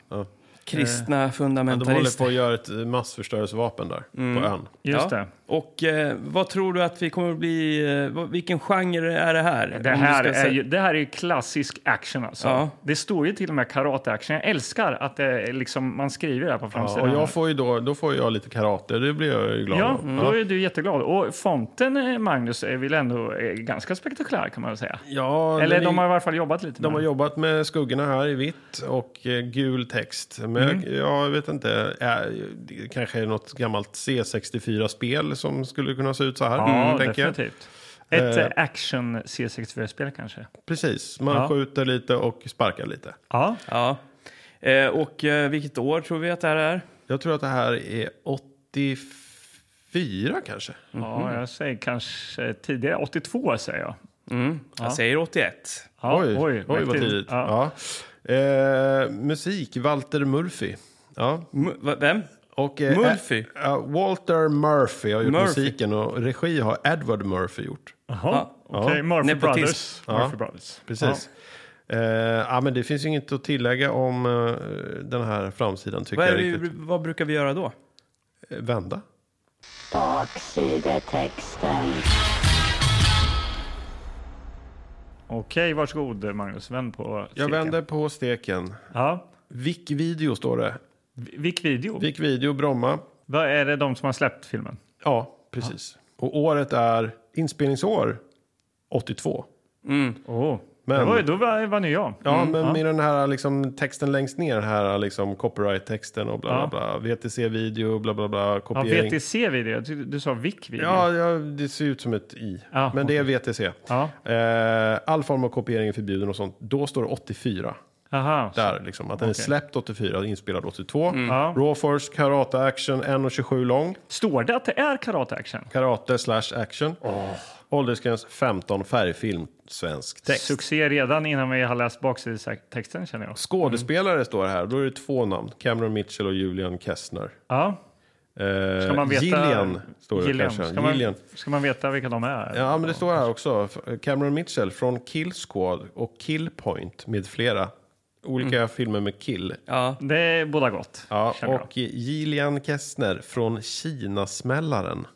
S2: Kristna
S3: eh, De håller på
S2: fundamentalister.
S3: att göra ett massförstörelsevapen där
S1: Mm.
S3: på ön.
S1: Just
S2: Ja.
S1: det.
S2: Och eh, vad tror du att vi kommer att bli... Eh, vad- vilken genre är det här?
S1: Det
S2: Om du
S1: här,
S2: ska
S1: är
S2: säga-
S1: ju, det här är ju klassisk action alltså.
S2: Ja.
S1: Det står ju till och med karate-action. Jag älskar att det är liksom, man skriver det här på
S3: Ja,
S1: framsidan.
S3: och
S1: här.
S3: jag får ju då, då får jag lite karate, det blir jag ju glad
S1: Ja,
S3: av.
S1: då är du jätteglad. Och fonten, eh, Magnus, är väl ändå eh, ganska spektakulär kan man väl säga.
S3: Ja,
S1: Eller
S3: den är-
S1: de har i alla fall jobbat lite
S3: de har
S1: med
S3: jobbat med skuggorna här i vitt och eh, gul text. Men
S1: Mm.
S3: jag, jag vet inte, eh, det kanske är något gammalt C64-spel som skulle kunna se ut så här.
S1: den. Ja,
S3: Mm, tänker jag.
S1: definitivt. Ett
S3: Eh.
S1: eh, action C64-spel kanske.
S3: Precis, man
S1: Ja.
S3: skjuter lite och sparkar lite.
S1: Ja.
S2: Ja. Eh, och eh, vilket år tror vi att det här är?
S3: Jag tror att det här är 84 kanske.
S1: Ja,
S3: Mm-hmm.
S1: jag säger kanske tidigare. 82 säger jag.
S2: Mm. Jag säger 81.
S1: Ja,
S3: oj, oj, vad
S1: mäktigt.
S3: tidigt.
S1: Ja.
S3: Ja. Eh, musik, Walter Murphy. Ja.
S2: M- va- vem?
S3: Och, eh,
S2: Murphy?
S3: eh, ja, Walter Murphy har gjort
S2: Murphy.
S3: musiken och regi har Edward Murphy gjort.
S1: Jaha, okej.
S3: Ja.
S1: Murphy
S2: Nepotism.
S1: Brothers.
S3: Ja.
S1: Murphy Brothers.
S3: Precis. Ja. ja, men det finns ju inget att tillägga om eh, den här framsidan tycker
S2: Vad, är
S3: jag
S2: vi,
S3: riktigt.
S2: vad brukar vi göra då?
S3: Eh, Vända.
S4: Baksidetexten.
S1: Ja. Okej, varsågod Magnus. Vänd på
S3: Jag
S1: cirkeln.
S3: vänder på steken.
S1: Ja.
S3: Vic Video står det.
S1: Vi- Vilk video?
S3: Vic Video Bromma.
S1: Vad är det de som har släppt filmen?
S3: Ja, precis. Och året är inspelningsår 82.
S1: Oh.
S3: Men-
S1: Men. Det var, ju- då var, var ni jag.
S3: Ja, men med den här liksom, texten längst ner, den här liksom, copyright-texten och bla bla bla. VTC-video, bla bla bla,
S1: Ja,
S3: kopiering. Ja,
S1: VTC-video. Jag tyckte Du sa VIC-video.
S3: ja, det ser ut som ett i.
S1: Ja,
S3: men det är VTC.
S1: Ja.
S3: Eh, all form av kopiering är förbjuden och sånt. Då står det 84.
S1: Aha.
S3: Där, liksom. Att den är släppt 84, inspelad 82.
S1: Mm. Ja.
S3: Raw Force, karate action, 1,27 lång.
S1: Står det att det är karate-action?
S3: Karate slash action. Åldersgräns 15, färgfilm, svensk text.
S1: Succé redan innan vi har läst baksidestexten känner jag.
S3: Skådespelare står det här, då är det två namn. Cameron Mitchell och Julian Kessner.
S1: Ja,
S3: Eh,
S1: ska man veta...
S3: Gillian står det
S1: Gillian.
S3: kanske.
S1: Ska, man,
S3: Gillian.
S1: ska man veta vilka de är?
S3: Ja, men det står här också. F- Cameron Mitchell från Kill Squad och Kill Point med flera. Olika filmer med kill.
S2: Ja,
S1: Det är båda gott.
S3: Ja,
S1: Mm. känner jag.
S3: och Gillian Kessner från Kinasmällaren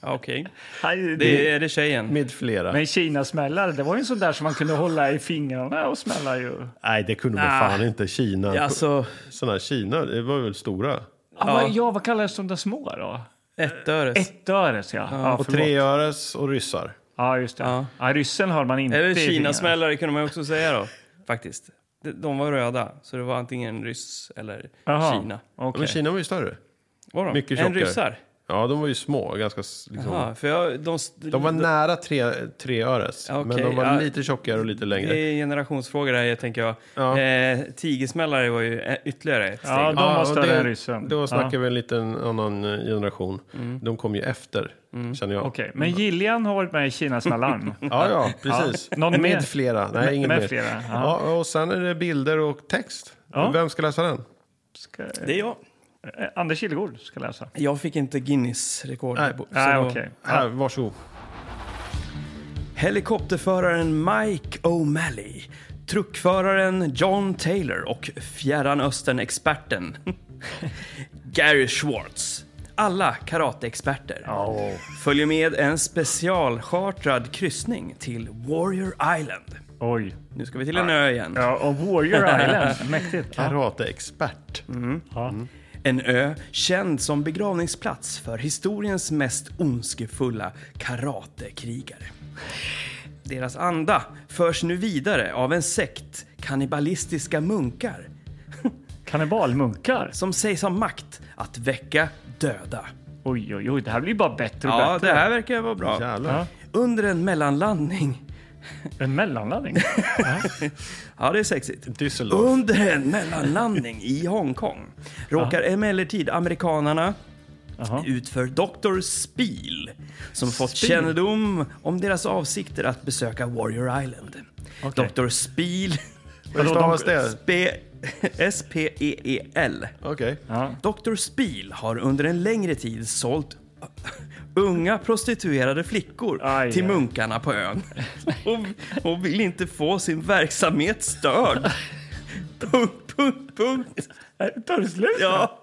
S2: ja, okej.
S1: Nej,
S2: Det
S1: det...
S2: är, är det tjejen?
S3: med flera.
S1: Men Kina-smällare, det var ju en sån där som man kunde hålla i fingrarna och smälla ju.
S3: Nej, det kunde man
S2: Ah.
S3: fan inte. Kina.
S2: Ja, Alltså,
S3: Sådana här Kina, det var väl stora.
S1: Ja, vad, ja vad kallades de där små då?
S2: ettöres.
S1: Ettöres ja. ja
S3: Och
S1: förlåt.
S3: treöres och ryssar.
S1: Ja, just det.
S2: Ja.
S1: Ja. ryssen har man inte
S2: Eller
S1: i fingrarna.
S2: Kinasmällare kunde man ju också säga då, faktiskt. De- De var röda, så det var antingen ryss eller
S1: Jaha,
S2: Kina.
S1: okej.
S3: Men Kina var ju större.
S2: Var de?
S3: Mycket
S2: en
S3: tjockare.
S2: ryssar?
S3: Ja, de var ju små. Ganska, s- liksom,
S2: Ja, för jag, de,
S3: De var nära tre, tre öres,
S2: Okej,
S3: men de var
S2: ja.
S3: lite tjockare och lite
S2: Det
S3: längre.
S2: är generationsfrågor där, jag tänker jag.
S3: Ja.
S2: Eh, tigersmällare var ju eh, ytterligare ett steg.
S1: Ja, de var
S3: och
S1: större
S3: det-
S1: än ryssen.
S3: Då snackar
S1: ja. Mm.
S3: vi en liten annan eh, generation. De kom ju efter, känner jag.
S1: Okej, men Gillian har varit med i Kinasmällaren.
S3: Ja, ja, precis.
S1: Ja. Någon
S3: med
S1: mer?
S3: flera. Nej, inget
S1: med
S3: mer.
S1: flera,
S3: Ja.
S1: ja.
S3: och sen är det bilder och text.
S1: Ja.
S3: Vem ska läsa den?
S1: Ska,
S2: Det är jag.
S1: eh, Anders Gillegård ska läsa.
S2: Jag fick inte Guinness-rekord.
S3: Nej, bo-
S2: Så
S1: Nej,
S2: det var-
S1: okej.
S3: Här, varsågod.
S2: Helikopterföraren Mike O'Malley, truckföraren John Taylor och Fjärran Östern-experten Gary Schwartz. Alla karateexperter följer med en specialchartrad kryssning till Warrior Island.
S1: Oj.
S2: Nu ska vi till en ö igen.
S1: Ja, och Warrior Island. Mäktigt. Ja.
S3: Karateexpert.
S1: Mm.
S2: Mm. En ö känd som begravningsplats för historiens mest ondskefulla karatekrigare. Deras anda förs nu vidare av en sekt kannibalistiska munkar
S1: Kannibalmunkar.
S2: som sägs ha makt att väcka döda.
S1: Oj, oj, oj. Det här blir bara bättre och
S2: Ja,
S1: bättre.
S2: det här verkar vara bra.
S3: Jävlar.
S2: Under en mellanlandning...
S1: En mellanlandning.
S2: Ja, det är sexigt.
S3: Düsseldorf.
S2: Under en mellanlandning i Hongkong råkar emellertid amerikanarna
S1: Jaha.
S2: ut för Dr. Spiel som fått kännedom om deras avsikter att besöka Warrior Island.
S1: Okej.
S2: Dr. Spiel...
S3: Hur stavas det?
S2: Spe- E S-P-E-E-L.
S3: Okej.
S2: Dr. Spiel har under en längre tid sålt unga prostituerade flickor
S1: Aj,
S2: till
S1: aj.
S2: munkarna på ön och, och vill inte få sin verksamhet störd. punkt, punkt, punkt.
S1: Äh, Tar det slut?
S2: Ja.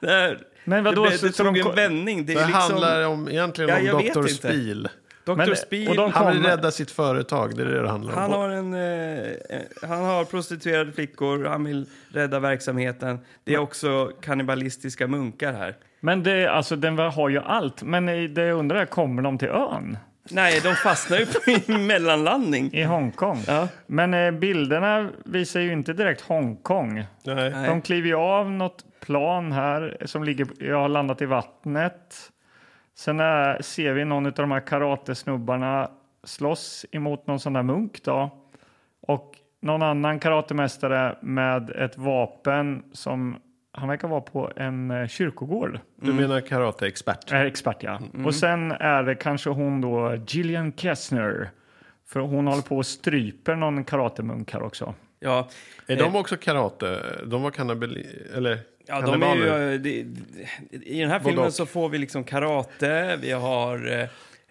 S2: Det, här,
S1: Men vadå,
S2: det, blev,
S1: så-
S2: det
S1: så
S2: tog
S1: de
S2: en
S1: ko-
S2: vändning. Det
S3: Det
S2: är liksom,
S3: handlar om, egentligen
S2: Ja, jag
S3: om
S2: vet
S3: Dr.
S2: inte.
S3: Spiel.
S2: Dr.
S1: Men-
S2: Spiel,
S1: och de
S3: Han vill
S1: Kommer-
S3: rädda sitt företag, det är det det handlar om.
S2: han, har en, eh, eh, han har prostituerade flickor, han vill rädda verksamheten. Det är också kannibalistiska munkar här.
S1: Men det, alltså, den var- har ju allt. Men eh, det jag undrar är, kommer de till ön?
S2: Nej, de fastnar ju på en mellanlandning.
S1: I Hongkong?
S2: Ja.
S1: Men eh, bilderna visar ju inte direkt Hongkong.
S3: Nej.
S1: De kliver ju av något plan här som ligger, jag har landat i vattnet. Sen är, ser vi någon av de här karatesnubbarna slåss emot någon sån där munk då. Och någon annan karatemästare med ett vapen som han verkar vara på en eh, kyrkogård.
S3: Du
S2: Mm.
S3: menar karateexpert?
S1: Är expert ja. Och sen är det kanske hon då Gillian Kessner. För hon håller på och stryper någon karatemunk här också.
S2: Ja,
S3: Är de också karate? De var kannibali... Eller
S2: Eh. ja de är
S3: kannibaler?
S2: ju, eh, det- det- I den här
S3: Både
S2: filmen
S3: och.
S2: så får vi liksom karate, vi har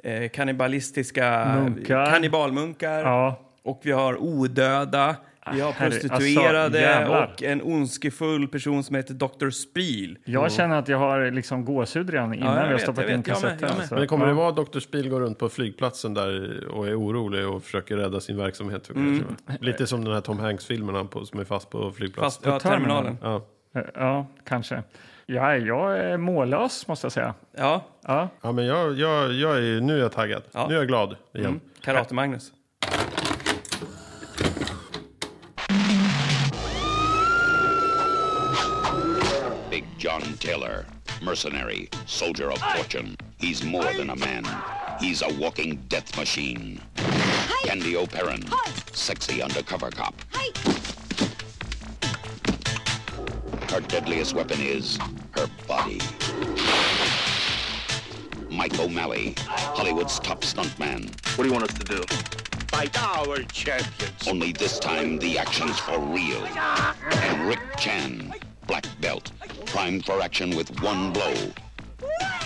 S2: eh, eh, kannibalistiska
S1: Munkar.
S2: kannibalmunkar
S1: Ja,
S2: och vi har odöda. Vi har
S1: Ah, herre-
S2: prostituerade
S1: alltså, jävlar.
S2: och en ondskefull person som heter Dr. Spiel.
S1: jag känner att jag har liksom gåshud redan innan
S2: jag
S1: vi har
S2: vet,
S1: stoppat
S2: jag
S1: in
S2: vet. Jag med,
S1: kassetten.
S2: jag med.
S1: så-
S3: Men kommer
S1: ja.
S3: det vara att Dr. Spiel går runt på flygplatsen där och är orolig och försöker rädda sin verksamhet? Mm. Lite som den här Tom Hanks-filmen han på- som är fast på flygplatsen.
S2: Fast, ja, terminalen.
S3: Ja.
S1: Ja, kanske. Ja, jag är mållös måste jag säga.
S2: Ja,
S1: Ja.
S3: Ja, men jag, jag, jag är, ju- nu är jag taggad.
S2: Ja.
S3: Nu är jag glad igen.
S2: Mm. Karate-Magnus.
S4: Big John Taylor, mercenary, soldier of fortune. He's more than a man. He's a walking death machine. Candy O'Perrin, sexy undercover cop. Her deadliest weapon is her body. Mike O'Malley, Hollywood's top stuntman.
S5: What do you want us to do? Fight our champions.
S4: Only this time the action's for real. And Rick Chan, black belt, primed for action with one blow.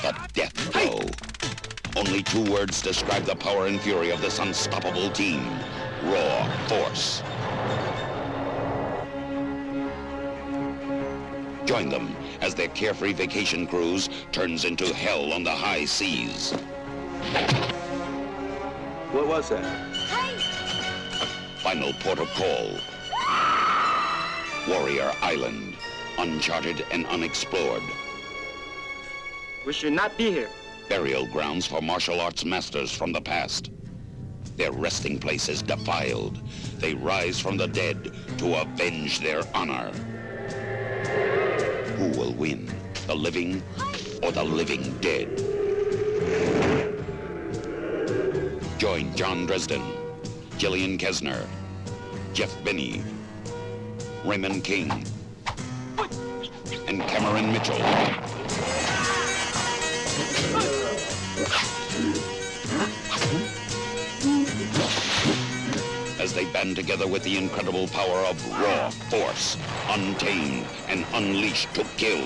S4: The death blow. Only two words describe the power and fury of this unstoppable team. Raw force. Join them as their carefree vacation cruise turns into hell on the high seas.
S5: What was that?
S4: Final port of call. Warrior Island. Uncharted and unexplored.
S5: We should not be here.
S4: Burial grounds for martial arts masters from the past. Their resting place is defiled. They rise from the dead to avenge their honor. Who will win? The living or the living dead? Join John Dresden, Gillian Kesner, Jeff Binney, Raymond King, and Cameron Mitchell. as they band together with the incredible power of raw force, untamed and unleashed to kill.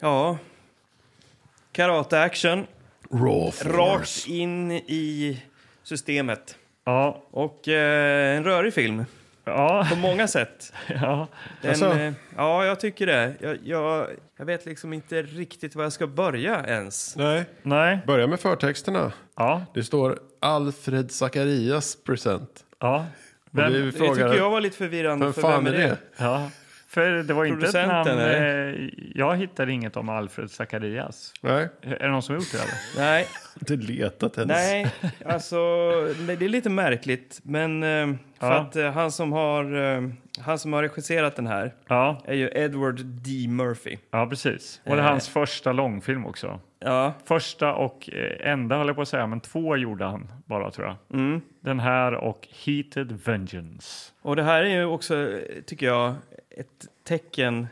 S2: Ja. Karate-action.
S3: Raw force.
S2: Rakt in i systemet.
S1: Ja,
S2: Och eh, en rörig film
S1: ja,
S2: på många sätt.
S1: ja.
S2: Den,
S3: Alltså.
S2: eh, ja, jag tycker det. Jag, jag, jag vet liksom inte riktigt var jag ska börja ens.
S3: Nej.
S1: Nej,
S3: Börja med förtexterna.
S1: ja,
S3: Det står Alfred Zacharias present.
S1: ja.
S3: Och
S1: Vem,
S3: vi
S2: Det tycker
S3: frågar,
S2: jag var lite förvirrande.
S3: vem
S2: för
S3: fan
S2: vem
S3: är det?
S1: ja. För det var inte ett
S2: Producenten,
S1: namn.
S2: eller?
S1: eh, Jag hittade inget om Alfred Zacharias.
S3: Nej,
S1: Är det någon som har gjort det? Eller?
S2: Nej,
S3: inte letat ens.
S2: nej, alltså nej, det är lite märkligt. Men eh, för
S1: Ja.
S2: att eh, han som har eh, han som har regisserat den här
S1: Ja,
S2: är ju Edward D. Murphy.
S1: ja, precis. Och det är
S2: Eh.
S1: hans första långfilm också.
S2: Ja,
S1: Första och eh, enda, höll jag på att säga, men två gjorde han bara, tror jag.
S2: Mm.
S1: Den här och Heated Vengeance.
S2: och det här är ju också, eh, tycker jag, ett tecken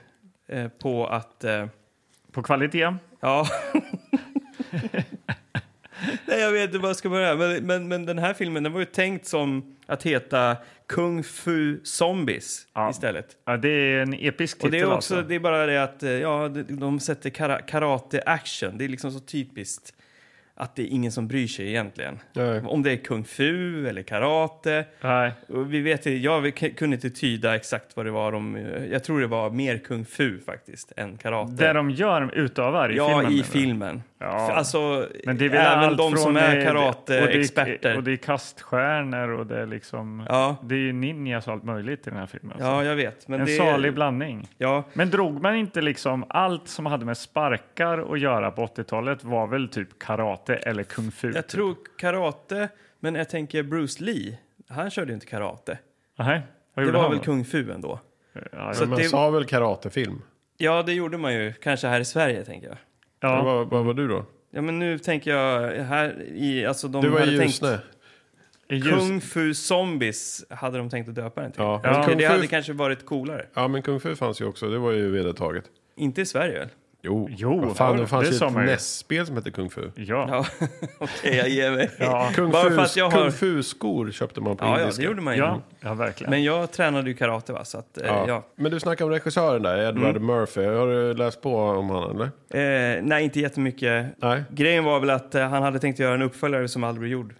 S2: eh, på att... Eh,
S1: På kvalitet?
S2: ja. Nej, jag vet inte var jag ska börja. Men, men, men den här filmen den var ju tänkt som att heta Kung Fu Zombies
S1: Ja.
S2: istället.
S1: Ja, det är en episk titel.
S2: Och det är, också,
S1: alltså.
S2: det är bara det att eh, ja, de- de sätter kara- karate-action. Det är liksom så typiskt att det är ingen som bryr sig egentligen.
S3: Nej.
S2: Om det är kung fu eller karate.
S1: Nej.
S2: Och Vi vet, inte- jag k- kunde inte tyda exakt vad det var de... eh, Jag tror det var mer kung fu faktiskt än karate.
S1: Det de gör, utövar i
S2: ja,
S1: filmen?
S2: i
S1: menar du?
S2: filmen.
S1: Ja.
S2: För Alltså,
S1: Men det är väl
S2: även
S1: allt
S2: de
S1: från
S2: som är
S1: eh, Och det
S2: karate-experter.
S1: är, och det är kaststjärnor och det är liksom...
S2: Ja.
S1: Det är ju ninjas och allt möjligt i den här filmen. alltså.
S2: Ja, jag vet. Men
S1: en
S2: det,
S1: salig blandning.
S2: Ja,
S1: Men drog man inte liksom allt som hade med sparkar att göra på 80-talet var väl typ karate eller kung fu?
S2: jag tror karate, men jag tänker Bruce Lee. Han körde ju inte karate.
S1: Nej, vad
S2: Det
S1: gjorde
S2: var
S1: han
S2: väl
S1: då?
S2: kung fu ändå?
S1: Ja,
S2: Så
S1: ja,
S2: att
S3: Man
S2: det,
S3: sa väl karatefilm?
S2: ja, det gjorde man ju. Kanske här i Sverige, tänker jag.
S3: Ja.
S1: Ja,
S3: Vad, vad var du då?
S2: Ja, men nu tänker jag här i... Alltså de
S3: Du var
S2: hade
S3: i
S2: tänkt,
S3: Ljusne.
S1: i ljus.
S2: Kung Fu Zombies hade de tänkt att döpa den till.
S3: Ja.
S2: Jag
S3: Men
S2: tycker
S3: Kung
S2: det
S3: Fu-
S2: hade kanske varit coolare.
S3: Ja, men Kung Fu fanns ju också. Det var ju vedertaget.
S2: Inte i Sverige väl?
S3: Jo,
S1: Jo,
S3: vad fan,
S1: det
S3: det fanns ju
S1: sa
S3: ett
S1: man ju.
S3: NES-spel som hette Kung Fu.
S1: Ja.
S2: Ja, okej, jag ger mig.
S1: Ja.
S3: Kung
S2: Bara för
S3: Fus-
S2: att jag
S3: Kung
S2: har-
S3: Fu-skor köpte man på
S2: Ja, ja,
S3: indiska.
S2: det gjorde man ju.
S1: Ja. ja, verkligen.
S2: Men jag tränade ju karate, va? Så att, eh,
S3: Ja.
S2: ja.
S3: Men du snackade om regissören där, Edward Murphy. Har du läst på om han eller?
S2: Eh, nej, inte jättemycket.
S3: Nej.
S2: Grejen var väl att eh, han hade tänkt göra en uppföljare som aldrig blev gjord.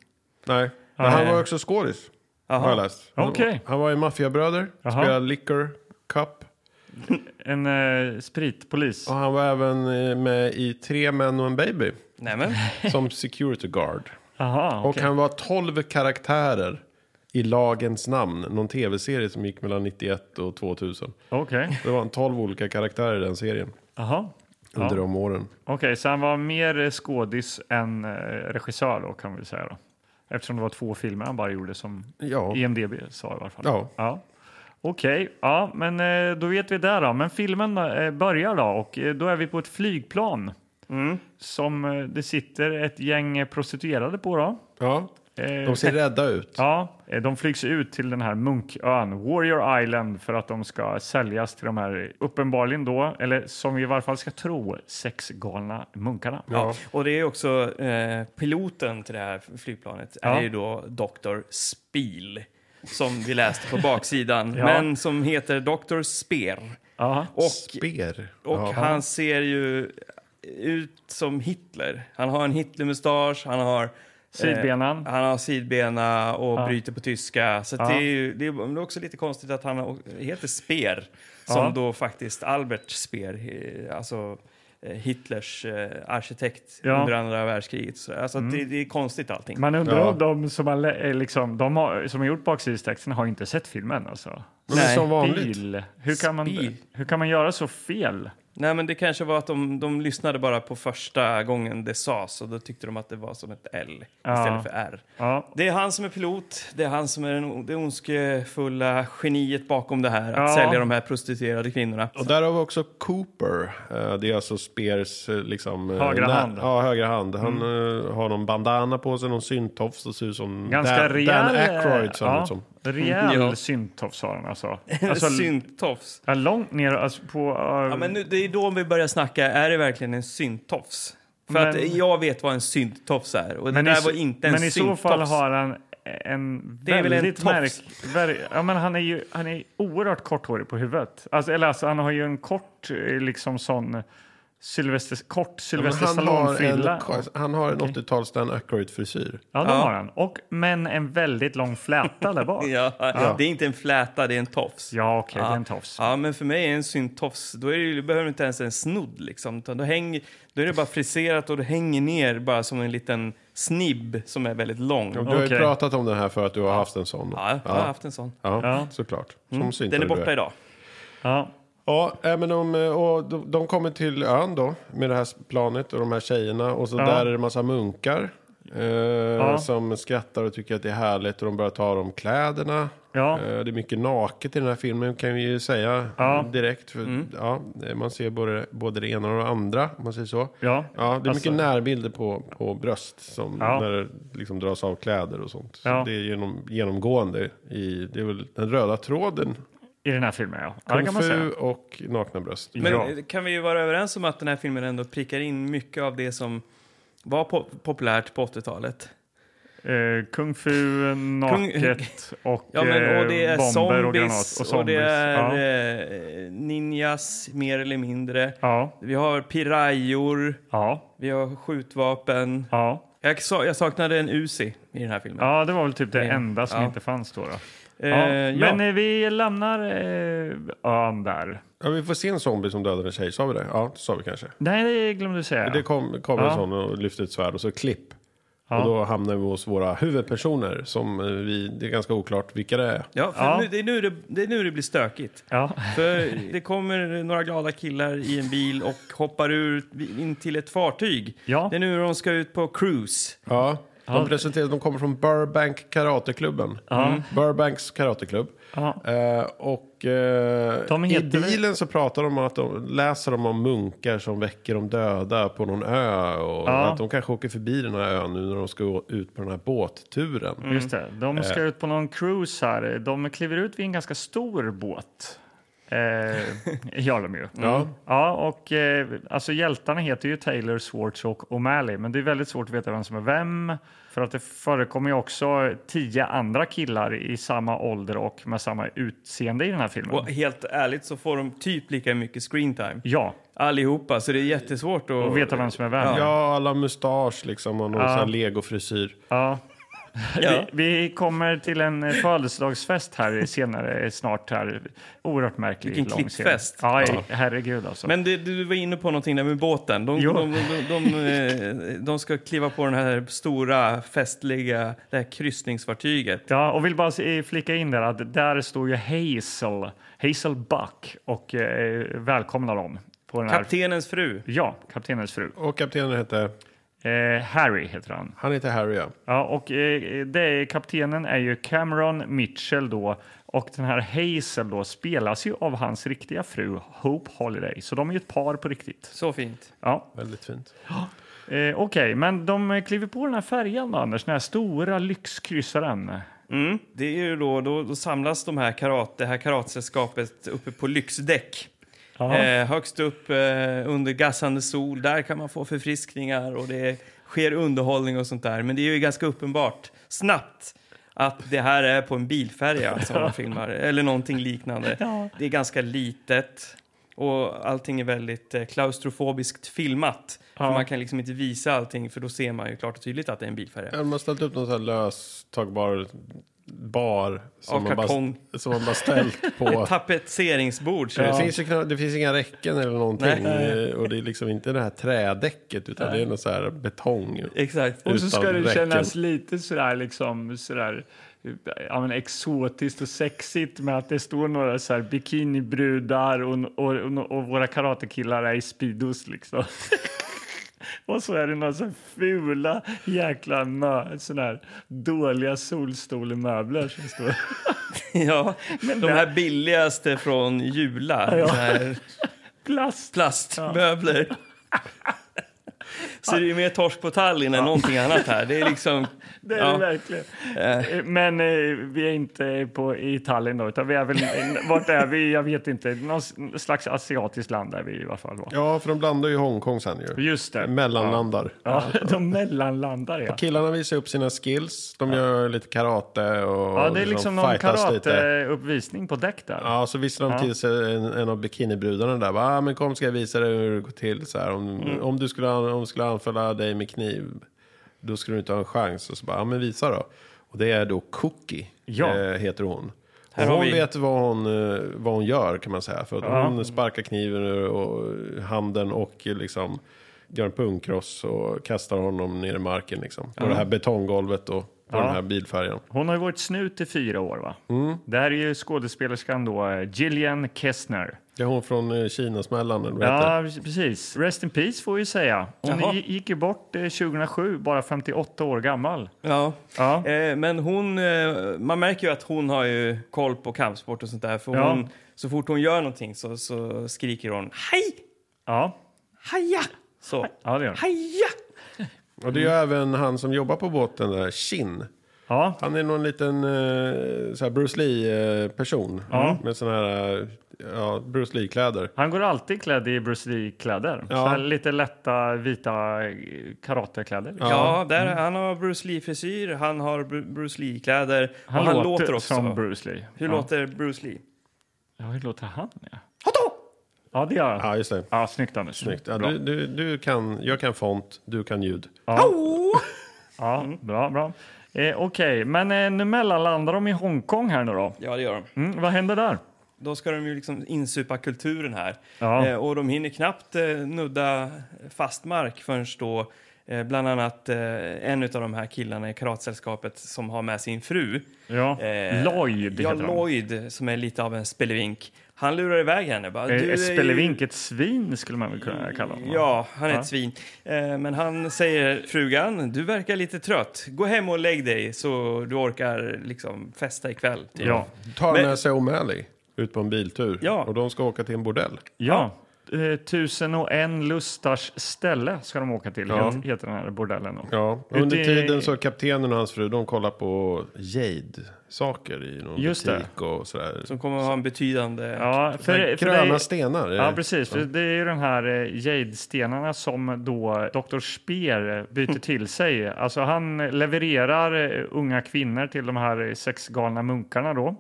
S3: Nej. Men han var också skådis. Har jag läst. Han,
S1: Okej.
S3: han var i Maffiabröder,
S1: Jaha.
S3: spelade Liquor Cup.
S1: En eh, spritpolis.
S3: Och han var även eh, med i Tre män och en baby.
S2: Nej, men.
S3: Som security guard.
S1: Aha,
S3: Och
S1: okej.
S3: han var 12 karaktärer i lagens namn. Någon tv-serie som gick mellan 91 och 2000.
S1: Okej,
S3: Det var en 12 olika karaktärer i den serien.
S1: Jaha.
S3: Under
S1: Ja.
S3: de åren.
S1: Okej, så han var mer eh, skådis än eh, regissör då kan vi säga då. Eftersom det var två filmer han bara gjorde som
S3: Ja.
S1: IMDB sa i varje fall.
S3: Ja.
S1: Okej, ja, men eh, då vet vi det då. Men filmen eh, börjar då och eh, då är vi på ett flygplan.
S3: Mm.
S1: Som eh, det sitter ett gäng eh, prostituerade på då.
S3: ja.
S1: Eh,
S3: De ser rädda ut.
S1: Ja, eh, de flygs ut till den här munkön, Warrior Island, för att de ska säljas till de här, uppenbarligen då, eller som vi i varje fall ska tro, sexgalna munkarna.
S2: Ja. Och det är också eh, piloten till det här flygplanet är ju då Dr. Spiel som vi läste på baksidan,
S1: Ja.
S2: men som heter Dr. Speer.
S1: Ja.
S2: Och,
S3: Speer.
S2: och
S3: ja.
S2: han ser ju ut som Hitler. Han har en Hitlermustasch, han har eh,
S1: Sidbenan.
S2: han har sidbena och bryter på tyska. Så att det, är ju, det är men det är också lite konstigt att han har- heter Speer, som
S1: Ja.
S2: då faktiskt Albert Speer, eh, alltså eh, Hitlers eh, arkitekt
S1: Ja. Mm.
S2: under andra världskriget. Så, alltså att det, det är konstigt allting.
S1: Man undrar
S3: Ja.
S1: om de som har, lä- eh, liksom, de har, som har gjort baksidestexten har inte sett filmen alltså.
S3: Men det är
S2: Nej.
S3: som vanligt.
S1: Bil. Hur kan, man,
S2: Spil.
S1: hur kan man göra så fel?
S2: Nej, men det kanske var att de, de lyssnade bara på första gången det sades och då tyckte de att det var som ett L istället för R.
S1: Ja.
S2: Det är han som är pilot, det är han som är den, det ondskefulla geniet bakom det här, att
S1: Ja.
S2: sälja de här prostituerade kvinnorna.
S3: Och där har vi också Cooper. Eh, Det är alltså Spears eh, liksom, eh,
S1: Högra
S3: nä-
S1: hand.
S3: Ja, högra hand. Han eh, har någon bandana på sig, någon syntofs och ser ut som
S1: Ganska
S3: Dan,
S1: rejäl... eh,
S3: Dan Aykroyd. ser han
S1: ja,
S3: ut som.
S1: Rejäl
S2: Ja.
S1: syntofs har han alltså.
S2: Alltså,
S1: alltså
S2: syntofs.
S1: ja, långt ner alltså, på... eh,
S2: Ja, men nu, det är då vi börjar snacka, är det verkligen en syntofs? För att
S1: Men-
S2: jag vet vad en syntofs är och det
S1: i
S2: där
S1: så-
S2: var inte en
S1: men i så
S2: syntofs.
S1: fall har han en
S2: Det är väl en
S1: väldigt
S2: tofs.
S1: märk... ver- Ja, men han är ju han är oerhört korthårig på huvudet. Alltså, eller alltså, han har ju en kort, eh, liksom sån Sylvester, kort
S3: Men
S1: Sylvester
S3: han, har en,
S1: Stallone-frilla.
S3: han har en 80-tals Dan Aykroyd-frisyr.
S1: Ja, det har han. Och, men en väldigt lång fläta där bak.
S2: Ja, Det är inte en fläta, det är en tofs.
S1: Ja, okej, det är en tofs.
S2: Ja, men för mig är en syntofs, då är det, ju- behöver du inte ens en snodd liksom. Utan Då, häng, då är det bara friserat och det hänger ner bara som en liten snibb som är väldigt lång.
S3: Du
S2: Ja,
S3: har ju
S1: Okej.
S3: pratat om den här för att du har haft en sån.
S2: jag har haft en sån.
S3: Ja,
S1: Ja.
S3: såklart. Som syntare
S2: Den är
S3: du
S2: borta idag.
S1: Ja.
S3: Ja, äh, men de, eh, och de, de kommer till ön då med det här planet och de här tjejerna och så där är det massa munkar. Eh, Som skrattar och tycker att det är härligt och de börjar ta av dem kläderna.
S1: Ja.
S3: Eh, det är mycket naket i den här filmen kan vi ju säga
S1: Ja.
S3: direkt. För, ja, eh, man ser både, både det ena och det andra om man säger så.
S1: Ja,
S3: det är
S1: alltså.
S3: mycket närbilder på, på bröst som
S1: Ja.
S3: när det liksom dras av kläder och sånt. Så
S1: Ja.
S3: Det är genom, genomgående i det är väl den röda tråden.
S1: I den här filmen, ja. ja det kan
S3: Kung
S1: man säga.
S3: fu och nakna bröst.
S2: Men
S1: Mm. ja.
S2: eh, kan vi ju vara överens om att den här filmen ändå prickar in mycket av det som var po- populärt på 80-talet?
S1: Eh, kung fu, naket och,
S2: Ja, men, och det
S1: eh,
S2: är
S1: bomber och
S2: zombies
S1: granater
S2: och,
S1: och zombies.
S2: det är
S1: ja.
S2: eh, ninjas, mer eller mindre.
S1: Ja,
S2: Vi har pirajor,
S1: ja,
S2: vi har skjutvapen.
S1: ja.
S2: Jag, sa, jag saknade en Uzi i den här filmen.
S1: Ja, det var väl typ det
S2: Ja.
S1: enda som
S2: Ja.
S1: inte fanns då. då.
S2: Eh,
S1: Ja.
S2: ja.
S1: Men eh, vi lämnar eh, ön där.
S3: Ja, vi får se en zombie som dödar en tjej, sa vi det? Ja, det sa vi kanske.
S1: Nej, det glömde du säga.
S3: Det kom, kom
S1: Ja.
S3: en sån och lyfte ett svärd och så klipp. Och då hamnar vi hos våra huvudpersoner som eh, vi, det är ganska oklart vilka det är.
S2: Ja, för
S1: Ja.
S2: Nu, det, är nu det, det är nu det blir stökigt.
S1: Ja.
S2: För det kommer några glada killar i en bil och hoppar ur in till ett fartyg.
S1: Ja.
S2: Det är nu de ska ut på cruise.
S3: Ja, De, presenterar, de kommer från Burbank karateklubben. Mm. Burbanks karateklubb.
S1: Ja.
S3: Eh, och eh,
S1: De
S3: i
S1: heter-
S3: bilen så pratar de om att de läser de om munkar som väcker de döda på någon ö. Och
S1: Ja.
S3: att de kanske åker förbi den här ön nu när de ska gå ut på den här båtturen.
S1: Mm. Just det. De ska ut på någon cruise här. De kliver ut vid en ganska stor båt. Eh, gör de ju. Ja. ja och, eh, alltså, hjältarna heter ju Taylor, Swartz och O'Malley men det är väldigt svårt att veta vem som är vem. För att det förekommer ju också tio andra killar i samma ålder och med samma utseende i den här filmen.
S2: Och helt ärligt så får de typ lika mycket screentime.
S1: Ja,
S2: Allihopa, så det är jättesvårt att...
S1: och veta vem som är vem.
S3: Ja, alla mustasch liksom och någon sån här legofrisyr.
S1: Ja.
S2: Ja.
S1: Vi, vi kommer till en eh, födelsedagsfest här senare eh, snart. Här. Oerhört märklig.
S2: Vilken
S1: lång scen.
S2: klippfest.
S1: Ja, eh, herregud alltså.
S2: Men det, du var inne på någonting där med båten. De,
S1: Jo.
S2: de, de, de, eh, de ska kliva på den här stora festliga det här kryssningsfartyget.
S1: Ja, och vill bara se- flika in där att där står ju Hazel, Hazel Buck och eh, välkomnar dem. På den här.
S2: Kaptenens fru.
S1: Ja, kaptenens fru.
S3: Och kaptenen heter,
S1: Eh, Harry heter han.
S3: han heter Harry ja.
S1: Ja, och eh, det är, kaptenen är ju Cameron Mitchell då och den här Hazel då spelas ju av hans riktiga fru Hope Holiday. Så de är ju ett par på riktigt.
S2: Så fint.
S1: Ja.
S3: Väldigt fint.
S1: Eh, Okej, men de eh, kliver på den här färjan då, Anders, den här stora lyxkryssaren.
S2: Mm. Det är ju då, då, då samlas de här karat, det här karatsällskapet uppe på lyxdäck. Eh, högst upp eh, under gassande sol, där kan man få förfriskningar och det sker underhållning och sånt där. Men det är ju ganska uppenbart snabbt att det här är på en bilfärja som de filmar, eller någonting liknande. Det är ganska litet och allting är väldigt eh, klaustrofobiskt filmat. För man kan liksom inte visa allting för då ser man ju klart och tydligt att det är en bilfärja.
S3: De har ställt upp någon sån här löstagbar bar.
S2: Av
S3: Som man,
S2: kartong.
S3: bara, som man bara ställt på.
S2: Tapetseringsbord. så
S3: Det,
S2: det
S3: finns ju knappt, det finns inga räcken eller någonting.
S2: Nej.
S3: eh, Och det är liksom inte det här trädäcket utan det är någon så här betong.
S2: Exakt.
S3: Utan
S6: Och så ska det
S3: räcken.
S6: kännas lite sådär liksom sådär ja, men exotiskt och sexigt med att det står några så här bikinibrudar och, och, och, och våra karatekillar är i speedos liksom. och så är det några så här fula jäkla mö, sån här dåliga solstolemöbler som står.
S2: Ja, de
S6: det-
S2: här billigaste från Jula. så här
S6: Plast!
S2: plastmöbler. Så det är ju mer torsk på Tallinn än någonting annat här. Det är liksom...
S6: Det är
S2: ja.
S6: det verkligen. Eh, Men eh, vi är inte på, i Tallinn då, utan vi är väl, vart är vi? Jag vet inte. Någon slags asiatiskt land är vi i alla fall. Va?
S3: Ja, för de blandar ju Hongkong sen ju.
S6: Just det.
S3: Mellanlandar.
S6: Ja, de mellanlandar, ja.
S3: Killarna visar upp sina skills. De gör lite karate och
S6: Ja, det är liksom någon
S3: fightas lite.
S6: karateuppvisning på däck där.
S3: Ja, så visslar de till sig en, en av bikinibrudarna där. Va, "Ah, men kom ska jag visa dig hur det går till. Så här, om, om du skulle, an- om du skulle anfalla dig med kniv, då skulle du inte ha en chans. Och så bara, ja men visa då. Och det är då Cookie,
S1: Ja.
S3: eh, heter hon. Och
S2: Här har
S3: hon
S2: vi-
S3: vet vad hon, eh, vad hon gör kan man säga. För att hon sparkar kniven ur och handen och eh, liksom gör en pungkross och kastar honom ner i marken. Liksom. På det här betonggolvet och på den här bilfärjan.
S1: Hon har ju varit snut i fyra år va?
S3: Mm.
S1: Det här är ju skådespelerskan då, eh, Gillian Kessner.
S3: Det är hon från eh, Kinasmällan eller vad heter det?
S1: Ja, precis. Rest in peace får vi ju säga. Hon
S2: Jaha.
S1: gi- gick ju bort eh, 2007, bara 58 år gammal.
S2: Ja.
S1: Ja.
S2: Eh, Men hon, eh, man märker ju att hon har ju koll på kampsport och sånt där. För
S1: Ja.
S2: hon, så fort hon gör någonting så, så skriker hon hej,
S1: Ja,
S2: haja! Så,
S1: ja det gör hon.
S2: haja!
S3: Och det är ju
S1: Mm.
S3: även han som jobbar på båten där, Shin.
S1: Ja.
S3: Han är någon liten eh, så här Bruce Lee-person.
S1: Mm.
S3: Med sådana här eh, ja, Bruce Lee-kläder.
S1: Han går alltid klädd i Bruce Lee-kläder. Så här lite lätta vita eh, karatekläder. liksom.
S2: Ja, där,
S1: Mm.
S2: han har Bruce Lee-frisyr, han har Bru- Bruce Lee-kläder.
S1: Han,
S2: och han låter, också.
S1: som Bruce Lee.
S2: Hur
S1: ja.
S2: låter Bruce Lee?
S1: Ja, hur låter han? Ja, ja det gör han.
S3: Ja, just det.
S1: Ja, snyggt Anders.
S3: Snyggt. Ja,
S1: bra.
S3: du, du, du kan, jag kan font, du kan ljud.
S1: Ja,
S2: Mm.
S1: bra, bra. Eh, Okej, men eh, nu mellanlandar de i Hongkong här nu då.
S2: Ja, det gör de.
S1: Mm, vad händer där?
S2: Då ska de ju liksom insupa kulturen här.
S1: Ja.
S2: Eh, och de hinner knappt eh, nudda fast mark förrän då Eh, Bland annat eh, en av de här killarna i Karatsällskapet som har med sin fru.
S1: Ja.
S2: Eh,
S1: Lloyd
S2: ja,
S1: heter han.
S2: Lloyd, som är lite av en spelevink. Han lurar iväg henne. Bara,
S1: Eh,
S2: är ju-
S1: Spelevink, ett svin skulle man väl kunna kalla honom.
S2: Ja, han är
S1: Ja.
S2: ett svin. Eh, Men han säger frugan, du verkar lite trött. Gå hem och lägg dig så du orkar liksom festa ikväll. Typ.
S1: Ja.
S3: Tar
S2: Men-
S3: med sig O'Malley ut på en biltur.
S2: Ja.
S3: Och de ska åka till en bordell.
S1: Ja. Eh, Tusen och en lustars ställe ska de åka till, het- heter den här bordellen. då.
S3: Ja.
S1: Ute
S3: Under
S1: i-
S3: tiden så kaptenen och hans fru, de kollar på jade-saker i någon
S1: Just det.
S3: butik och sådär.
S2: Som kommer att ha en betydande...
S1: Ja, för,
S3: Sådär
S1: för
S3: gröna
S1: det,
S3: stenar.
S1: Ja, precis. För det är ju den här eh, jade-stenarna som då Dr. Speer byter till sig. Alltså han levererar eh, unga kvinnor till de här eh, sexgalna munkarna då.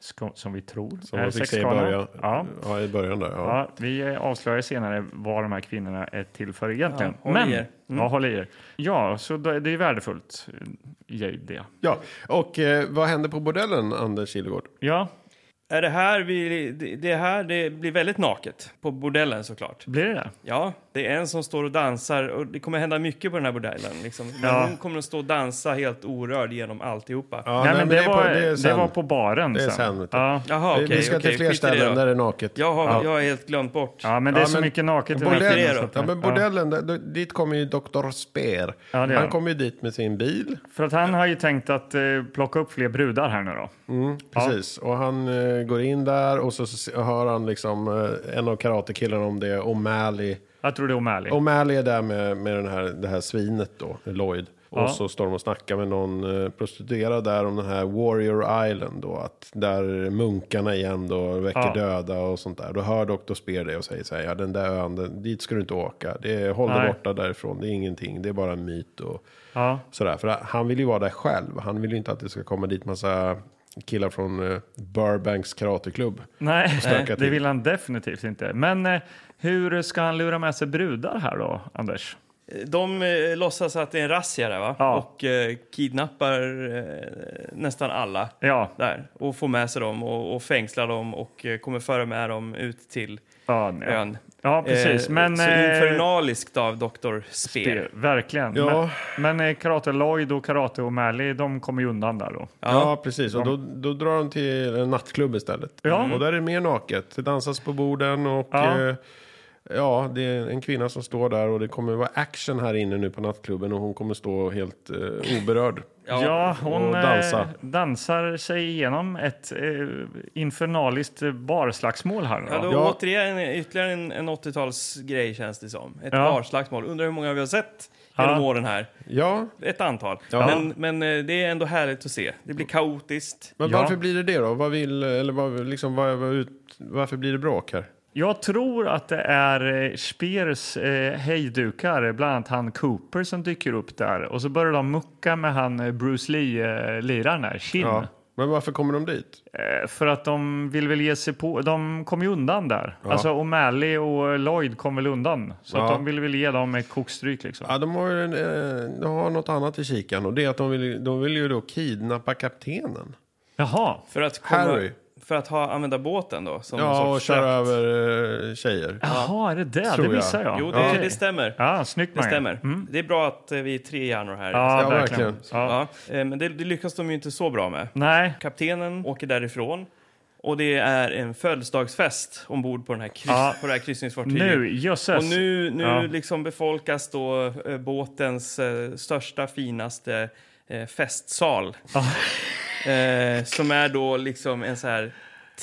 S1: Sko- Som vi tror
S3: Mm. Som
S1: är
S3: man fick se i
S1: sexgalna.
S3: början.
S1: Ja.
S3: Ja. i början där. Ja.
S1: Ja, vi eh, avslöjar senare vad de här kvinnorna är till för egentligen.
S2: Ja, håll
S1: Men,
S2: i er. Mm.
S1: Ja, håll i er. Ja, så det det är värdefullt. eh, Jade, det.
S3: Ja. Och eh, vad hände på bordellen, Anders Kilegård?
S1: Ja,
S2: Är det här vi... det- Det här det blir väldigt naket. På bordellen såklart.
S1: blir det det?
S2: Ja, det är en som står och dansar och det kommer hända mycket på den här bordellen. Liksom. Men
S1: Ja.
S2: hon kommer att stå och dansa helt orörd genom alltihopa.
S3: Ja,
S1: nej, men det,
S3: är
S1: var,
S3: är
S1: det,
S3: sen.
S1: var på baren
S3: Det är sen, vet du.
S1: ja.
S2: Jaha,
S3: Vi-
S2: okej.
S3: Vi ska
S2: okej,
S3: till fler
S2: skit i det
S3: ställen
S2: då.
S3: där det är naket.
S2: Jag har, jag har helt glömt bort.
S1: ja, men det är
S3: Ja,
S1: så
S3: men-
S1: mycket naket i den här filmen, så
S3: Bordellen,
S1: att-
S3: ja, men bordellen där, då- dit kommer ju Dr. Speer.
S1: Ja, det gör
S3: han
S1: han.
S3: kommer ju dit med sin bil.
S1: För att han har ju tänkt att eh, plocka upp fler brudar här nu då.
S3: Mm, Precis, och han eh, går in där och så, så hör han liksom eh, en av karatekillarna om det, O'Malley.
S1: Jag tror det är O'Malley.
S3: O'Malley är där med, med den här, det här svinet då, Lloyd. Och
S1: Ja.
S3: så står de och snackar med någon eh, prostituerad där om den här Warrior Island då. Att där munkarna igen då väcker
S1: Ja.
S3: döda och sånt där. Då hör Dr. Speer det och säger så här, ja den där ön, den, dit ska du inte åka. Det är, håll dig
S1: Nej.
S3: borta därifrån, det är ingenting, det är bara en myt och
S1: Ja.
S3: sådär. För han vill ju vara där själv, han vill ju inte att det ska komma dit massa killar från eh, Burbanks karateklubb.
S1: Nej,
S3: stöka
S1: det
S3: till.
S1: vill han definitivt inte. Men eh, hur ska han lura med sig brudar här då, Anders?
S2: De eh, låtsas att det är en razzia där, va?
S1: Ja.
S2: och eh, kidnappar eh, nästan alla
S1: Ja,
S2: där och får med sig dem och, och fängslar dem och eh, kommer föra med dem ut till
S1: ja, nej.
S2: ön.
S1: ja precis.
S2: Eh,
S1: Men,
S2: så
S1: eh,
S2: infernaliskt av Dr. Speer.
S1: det- verkligen.
S3: Ja.
S1: Men, men eh, Karate Lloyd och Karate O'Malley, de kommer ju undan där då.
S3: Ja, precis. Och då, då drar de till en nattklubb istället. Och där är det mer naket. Det dansas på borden och
S1: Ja.
S3: ja. Eh, ja, det är en kvinna som står där och det kommer vara action här inne nu på nattklubben och hon kommer stå helt eh, oberörd.
S1: Ja, hon
S3: och
S1: eh,
S3: dansa.
S1: dansar sig igenom ett eh, infernaliskt eh, barslagsmål här.
S2: Ja,
S1: då.
S2: då,
S3: Ja.
S2: Återigen ytterligare en, en 80-talsgrej känns det som. Ett
S1: Ja.
S2: barslagsmål. Undrar hur många vi har sett genom
S1: Ja.
S2: åren här.
S3: Ja,
S2: Ett antal.
S3: Ja.
S2: Men, men eh, det är ändå härligt att se. Det blir kaotiskt.
S3: men
S1: Ja.
S3: varför blir det det då? Vad vill, eller vad, liksom, vad, vad ut, varför blir det bråk här?
S1: Jag tror att det är eh, Spears eh, hejdukar, bland annat han Cooper som dyker upp där. Och så börjar de mucka med han eh, Bruce Lee-liraren där, Shin.
S3: Ja. Men varför kommer de dit?
S1: Eh, För att de vill väl ge sig på, de kom ju undan där. Alltså O'Malley och Lloyd kom väl undan. Så att
S3: Ja.
S1: de vill väl ge dem ett kokstryk liksom.
S3: Ja, de har, ju en, eh, de har något annat i kikan och det är att de vill, de vill ju då kidnappa kaptenen.
S1: Jaha,
S2: För att, komma,
S3: Harry.
S2: för att ha, använda båten då? Som någon
S3: Ja, och
S2: sorts
S3: köra
S2: straff.
S3: över eh, tjejer.
S1: jaha är det det?
S3: Tror
S1: Det
S3: jag.
S1: missar jag.
S2: Jo, det,
S1: Okej.
S2: det stämmer.
S1: Ja, snyggt
S2: Det
S1: Mange.
S2: stämmer. Det är bra att eh, vi är tre hjärnor här.
S1: Ja,
S3: Ja,
S1: verkligen.
S3: verkligen.
S1: Ja.
S2: Ja, eh, Men det, det lyckas de ju inte så bra med.
S1: Nej,
S2: Kaptenen åker därifrån och det är en födelsedagsfest ombord på, den här kryss,
S1: Ja.
S2: på det här kryssningsfartyget.
S1: nu, jösses.
S2: Och nu, nu
S1: Ja.
S2: liksom befolkas då eh, båtens eh, största, finaste eh, festsal. Eh, som är då liksom en så här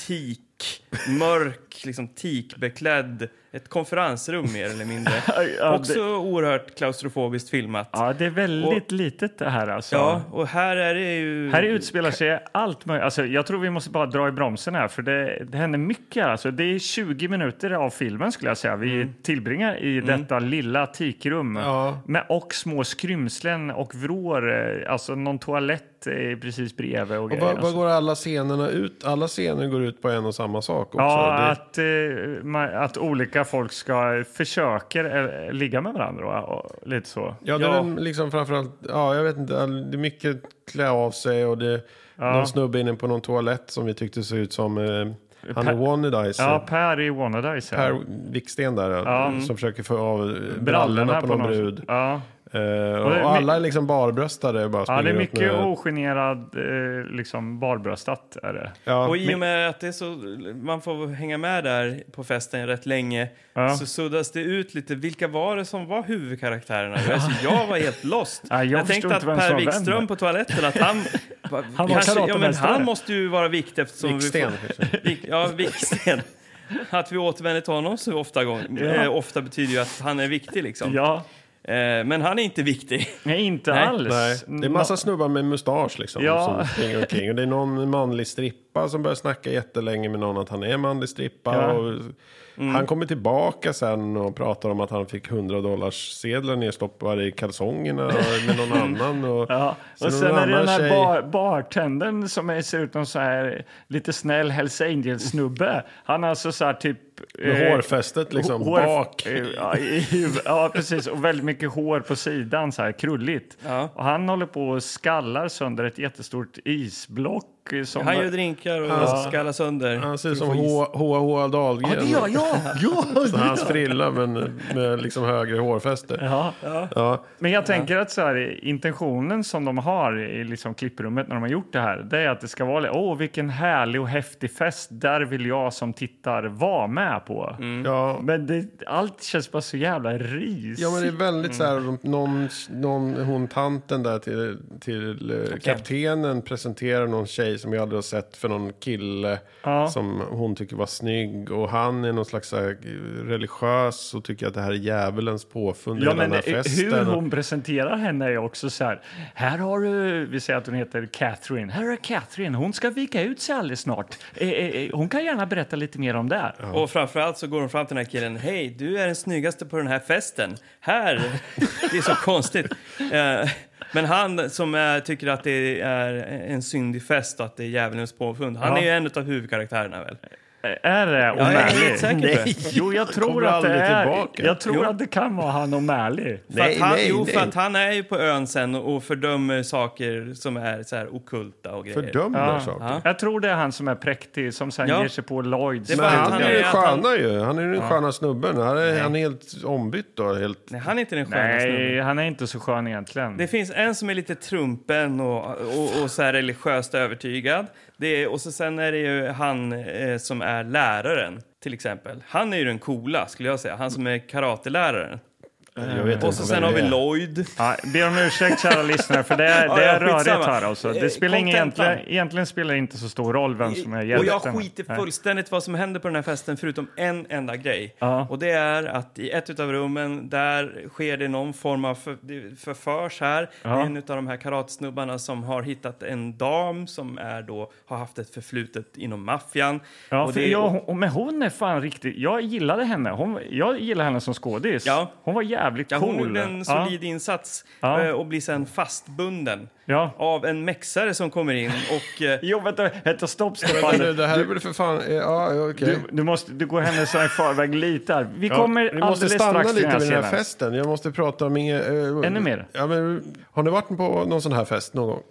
S2: teak, mörk, liksom teakbeklädd, ett konferensrum mer eller mindre.
S1: Ja,
S2: Också oerhört klaustrofobiskt filmat. Ja.
S1: Ja, det är väldigt litet det här alltså.
S2: och här är det ju...
S1: Här utspelar sig allt möjligt. Alltså, jag tror vi måste bara dra i bromsen här, för det, det händer mycket. här, Alltså, det är 20 minuter av filmen skulle jag säga. vi tillbringar i detta lilla teakrum.
S3: Mm. Ja.
S1: Med, och små skrymslen och vrår. eh, Alltså någon toalett eh, precis bredvid. Och
S3: Och
S1: grejer,
S3: vad,
S1: alltså.
S3: vad går alla scenerna ut? Alla scener går ut på en och samma sak också.
S1: Ja,
S3: det,
S1: att, eh, ma- att olika folk ska försöker eh, ligga med varandra. va? Och, lite så.
S3: ja, det
S2: ja.
S3: är den liksom framförallt, ja jag vet inte, all- det är mycket klä av sig och det någon snubbe inne på någon toalett som vi tyckte såg ut som eh, han är Wannadice.
S1: Ja, Per i Wanadice. ja.
S3: Per Wiksten där, som försöker få av eh, brallorna på någon brud.
S1: Ja.
S3: Eh,
S1: det är
S3: och alla är liksom barbröstade och bara
S1: Ja, det
S3: springer
S1: är
S3: runt
S1: mycket
S3: med-
S1: ogenerad, eh, liksom barbröstat är det.
S3: Ja,
S2: Och i och med att det är så, man får hänga med där på festen rätt länge
S1: Ja.
S2: så suddas det ut lite. Vilka var det som var huvudkaraktärerna? Alltså, jag var helt lost.
S1: Ja, jag förstod
S2: tänkte
S1: inte
S2: att
S1: vem som
S2: Per
S1: var vem.
S2: Wikström på toaletten, att han... han, ja, men
S1: karatemästare.
S2: han måste ju vara viktig eftersom
S3: Viksten.
S2: vi får... Vik, ja, Viksten. Att vi återvänder till honom så ofta, gång, eh, ofta betyder ju att han är viktig liksom.
S1: Ja,
S2: Eh, men han är inte viktig.
S1: nej, inte
S2: Nej.
S1: alls.
S3: Nej, det är massa snubbar med mustasch liksom,
S1: Mm. Ja.
S3: som springer omkring. Och det är någon manlig strippa som börjar snacka jättelänge med någon att han är manlig strippa.
S1: Ja. Mm.
S3: Och Han kommer tillbaka sen och pratar om att han fick 100 dollars sedlar nedstoppade i kalsongerna och med någon annan. Och,
S1: Ja. Och
S3: någon
S1: sen är det
S3: annan
S1: den här
S3: tjej-
S1: bar, bartendern som är, ser ut som så här lite snäll Hells Angels-snubbe. Han har alltså så här typ...
S3: Med
S1: eh,
S3: hårfästet liksom
S1: hår-
S3: bak.
S1: eh, Ja, i huv- ja, precis. Och väldigt mycket hår på sidan, så här krulligt.
S2: Ja.
S1: Och han håller på och skallar sönder ett jättestort isblock. eh, Som
S2: Han gör drinkar och skallar sönder.
S3: Han ser ut som H.H. Dahlgren. Ja, det gör jag! Hans frilla men med liksom högre hårfäste.
S1: Ja.
S3: Ja.
S1: Men jag tänker att så här, intentionen som de har i liksom klipprummet när de har gjort det här, det är att det ska vara åh vilken härlig och häftig fest, där vill jag som tittar vara med på.
S3: Ja,
S1: Men det, allt känns bara så jävla ris.
S3: Ja men det är väldigt så här, någon, någon, hon tanten där till, till eh, kaptenen presenterar någon tjej som jag aldrig har sett för någon kille
S1: Ja.
S3: som hon tycker var snygg och han är någon slags så här, religiös och tycker att det här är djävulens påfund i
S1: Ja,
S3: hela
S1: men eh,
S3: den här festen.
S1: hur hon presenterar henne är också så här. Här har du, vi säger att hon heter Catherine. Här är Catherine, hon ska vika ut sig alldeles snart. Eh, eh, eh, hon kan gärna berätta lite mer om det.
S2: Och framförallt så går de fram till den här killen. Hej, du är den snyggaste på den här festen. Här! Det är så konstigt. Eh, Men han som eh, tycker att det är en syndig fest och att det är djävulens påfund. Han
S1: Ja.
S2: är ju en av huvudkaraktärerna väl?
S1: Eh, Är det
S2: Jag är
S1: O'Malley?
S2: helt säker på det.
S1: Jo, jag tror
S3: Kommer
S1: att det
S3: aldrig
S1: är.
S3: tillbaka.
S1: Jag tror
S2: Jo.
S1: att det kan vara han O'Malley.
S2: För att han, jo, för att han är ju på ön sen och och fördömer saker som är så här okulta och grejer.
S3: Fördömer saker.
S2: Ja.
S1: Jag tror det är han som är präktig som sen
S2: Ja.
S1: ger sig på Lloyds.
S2: Det
S3: Men
S2: Fan,
S3: han
S2: han
S3: är
S2: är
S3: ju
S2: att han-
S3: sköna ju. Han är ju den sköna snubben. Han är, han är helt ombytt då. Helt...
S2: Nej, han är inte den sköna snubben.
S1: Nej, han är inte så skön egentligen.
S2: Det finns en som är lite trumpen och, och, och så här religiöst övertygad. Det är, och så sen är det ju han eh, som är läraren, till exempel. Han är ju den coola, skulle jag säga. Han som är karateläraren.
S3: Jag vet
S2: Och
S3: inte
S2: så
S3: vem
S2: sen har
S3: det
S2: vi
S3: är.
S2: Lloyd.
S1: Ja, ber om ursäkt kära lyssnare för det är,
S2: Ja,
S1: det är
S2: ja, skitsamma.
S1: rörigt här alltså.
S2: Eh,
S1: Det spelar ingen,
S2: kontentan.
S1: egentligen, egentligen spelar det inte så stor roll vem som är
S2: Och
S1: hjälten.
S2: jag skiter fullständigt vad som händer på den här festen förutom en enda grej.
S1: Ja.
S2: Och det är att i ett av rummen där sker det någon form av för, det förförs här. Det är en av de här karatsnubbarna som har hittat en dam som är då, har haft ett förflutet inom maffian.
S1: Ja,
S2: Och
S1: för
S2: det-
S1: jag, hon, men hon är fan riktigt... Jag gillade henne. Hon, jag gillar henne som skådis.
S2: Ja.
S1: Hon var jävligt
S2: Ja,
S1: cool.
S2: hon gjorde en
S1: Ja.
S2: solid insats
S1: Ja.
S2: eh, och blir sen fastbunden
S1: Ja.
S2: av en mexare som kommer in och... eh,
S1: Jo, vänta, vänta stopp
S3: Fan,
S1: Stefan.
S3: det- Det här är väl för fan... Ja, okej.
S1: Du, du, måste, du går händelserna i förväg lite här. Vi
S3: Ja,
S1: kommer
S3: vi måste
S1: alldeles
S3: stanna
S1: strax till
S3: lite
S1: den här
S3: vid den
S1: scenen.
S3: här festen. Jag måste prata om... Inge, eh,
S1: Ännu mer?
S3: Ja, men, har ni varit på någon sån här fest någon gång?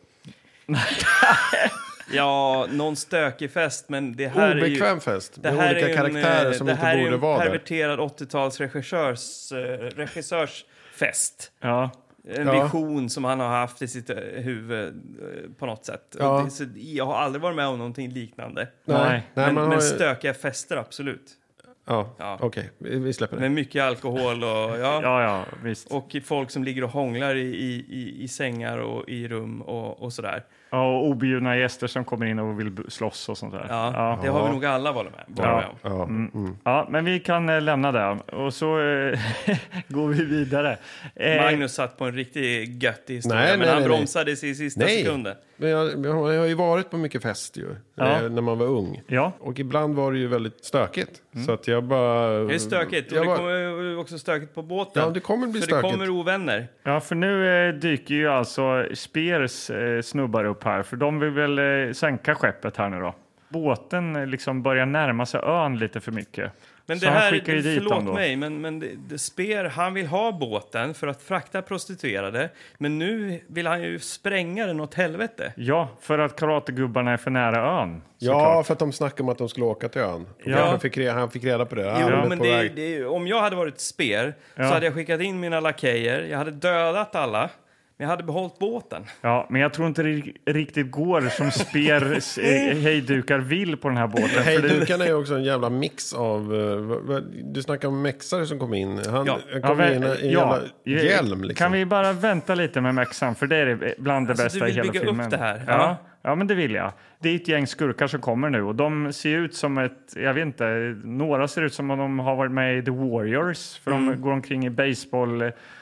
S2: Ja, någon stökig fest, men det här är
S3: Obekväm
S2: ju...
S3: fest
S2: Det
S3: med
S2: här
S3: olika
S2: är ju
S3: karaktärer
S2: en, eh,
S3: som
S2: det
S3: inte
S2: här är ju
S3: borde
S2: en
S3: vara där.
S2: perverterad 80-tals regissörs, eh, regissörsfest.
S1: Ja.
S2: En
S3: Ja.
S2: vision som han har haft i sitt eh, huvud eh, på något sätt.
S3: Ja.
S2: Och Det, så, jag har aldrig varit med om någonting liknande.
S1: Nej,
S2: men,
S3: man har
S2: men
S3: ju-
S2: stökiga fester, absolut.
S3: eh, Ja,
S2: Ja.
S3: okej. Vi, vi släpper det.
S2: Med mycket alkohol och... Ja.
S1: ja, ja, visst.
S2: Och folk som ligger och hånglar i, i, i, i sängar och i rum och, och sådär.
S1: Ja, och objudna gäster som kommer in och vill bu- slåss och sånt där.
S2: Ja,
S1: Ja.
S2: Det har vi nog alla varit med, varit
S1: Ja.
S2: med om.
S3: Ja.
S1: Ja, men vi kan eh, lämna det och så eh, går vi vidare. Eh,
S2: Magnus satt på en riktig göttig historia,
S3: Nej,
S2: men
S3: nej,
S2: han
S3: nej, nej.
S2: bromsades i sista
S3: Nej,
S2: sekunden.
S3: men jag, jag har jag har ju varit på mycket fest ju,
S1: Ja.
S3: eh, när man var ung.
S1: Ja.
S3: Och ibland var det ju väldigt stökigt.
S1: Mm.
S3: Så att jag bara...
S2: Det är stökigt, och
S3: Alltså, Jag
S2: det
S3: bara-
S2: kommer också stökigt på båten.
S3: Ja, det kommer bli
S2: för
S3: stökigt.
S2: det kommer ovänner.
S1: Ja, för nu eh, dyker ju alltså Spears eh, snubbar upp här, för de vill väl eh, sänka skeppet här nu då. Båten eh, liksom börjar närma sig ön lite för mycket.
S2: Men
S1: Så
S2: det
S1: han
S2: här,
S1: skickar ju dit
S2: förlåt
S1: dem då?
S2: mig, men, men det, det Speer, han vill ha båten för att frakta prostituerade. Men nu vill han ju spränga den åt helvete.
S1: Ja, för att karategubbarna är för nära ön.
S3: Ja, för att de snackade om att de skulle åka till ön. Och
S1: Ja.
S3: Han, fick reda, han fick reda på det. Han
S2: Jo,
S3: var
S2: men
S3: på
S2: det,
S3: väg.
S2: det, är ju- om jag hade varit Speer
S1: Ja.
S2: så hade jag skickat in mina lakejer, jag hade dödat alla, men jag hade behållit båten.
S1: Ja, men jag tror inte det ri- riktigt går som Speer s- eh, hejdukar vill på den här båten. för det-
S3: Hejdukarna är ju också en jävla mix av... eh, vad- vad- Du snackar om mexare som kom in. Han,
S2: Ja.
S3: han
S1: Ja,
S3: kom
S1: men-
S3: in i en, en
S1: ja,
S3: jävla hjälm. Liksom.
S1: Kan vi bara vänta lite med Mexan, för det är det- bland det
S2: Alltså,
S1: bästa i
S2: du vill
S1: hela
S2: bygga upp
S1: filmen.
S2: det här,
S1: Ja.
S2: ja.
S1: Ja. men det vill jag. Det är ett gäng skurkar som kommer nu och de ser ut som ett, jag vet inte, några ser ut som om de har varit med i The Warriors, för
S2: Mm.
S1: de går omkring i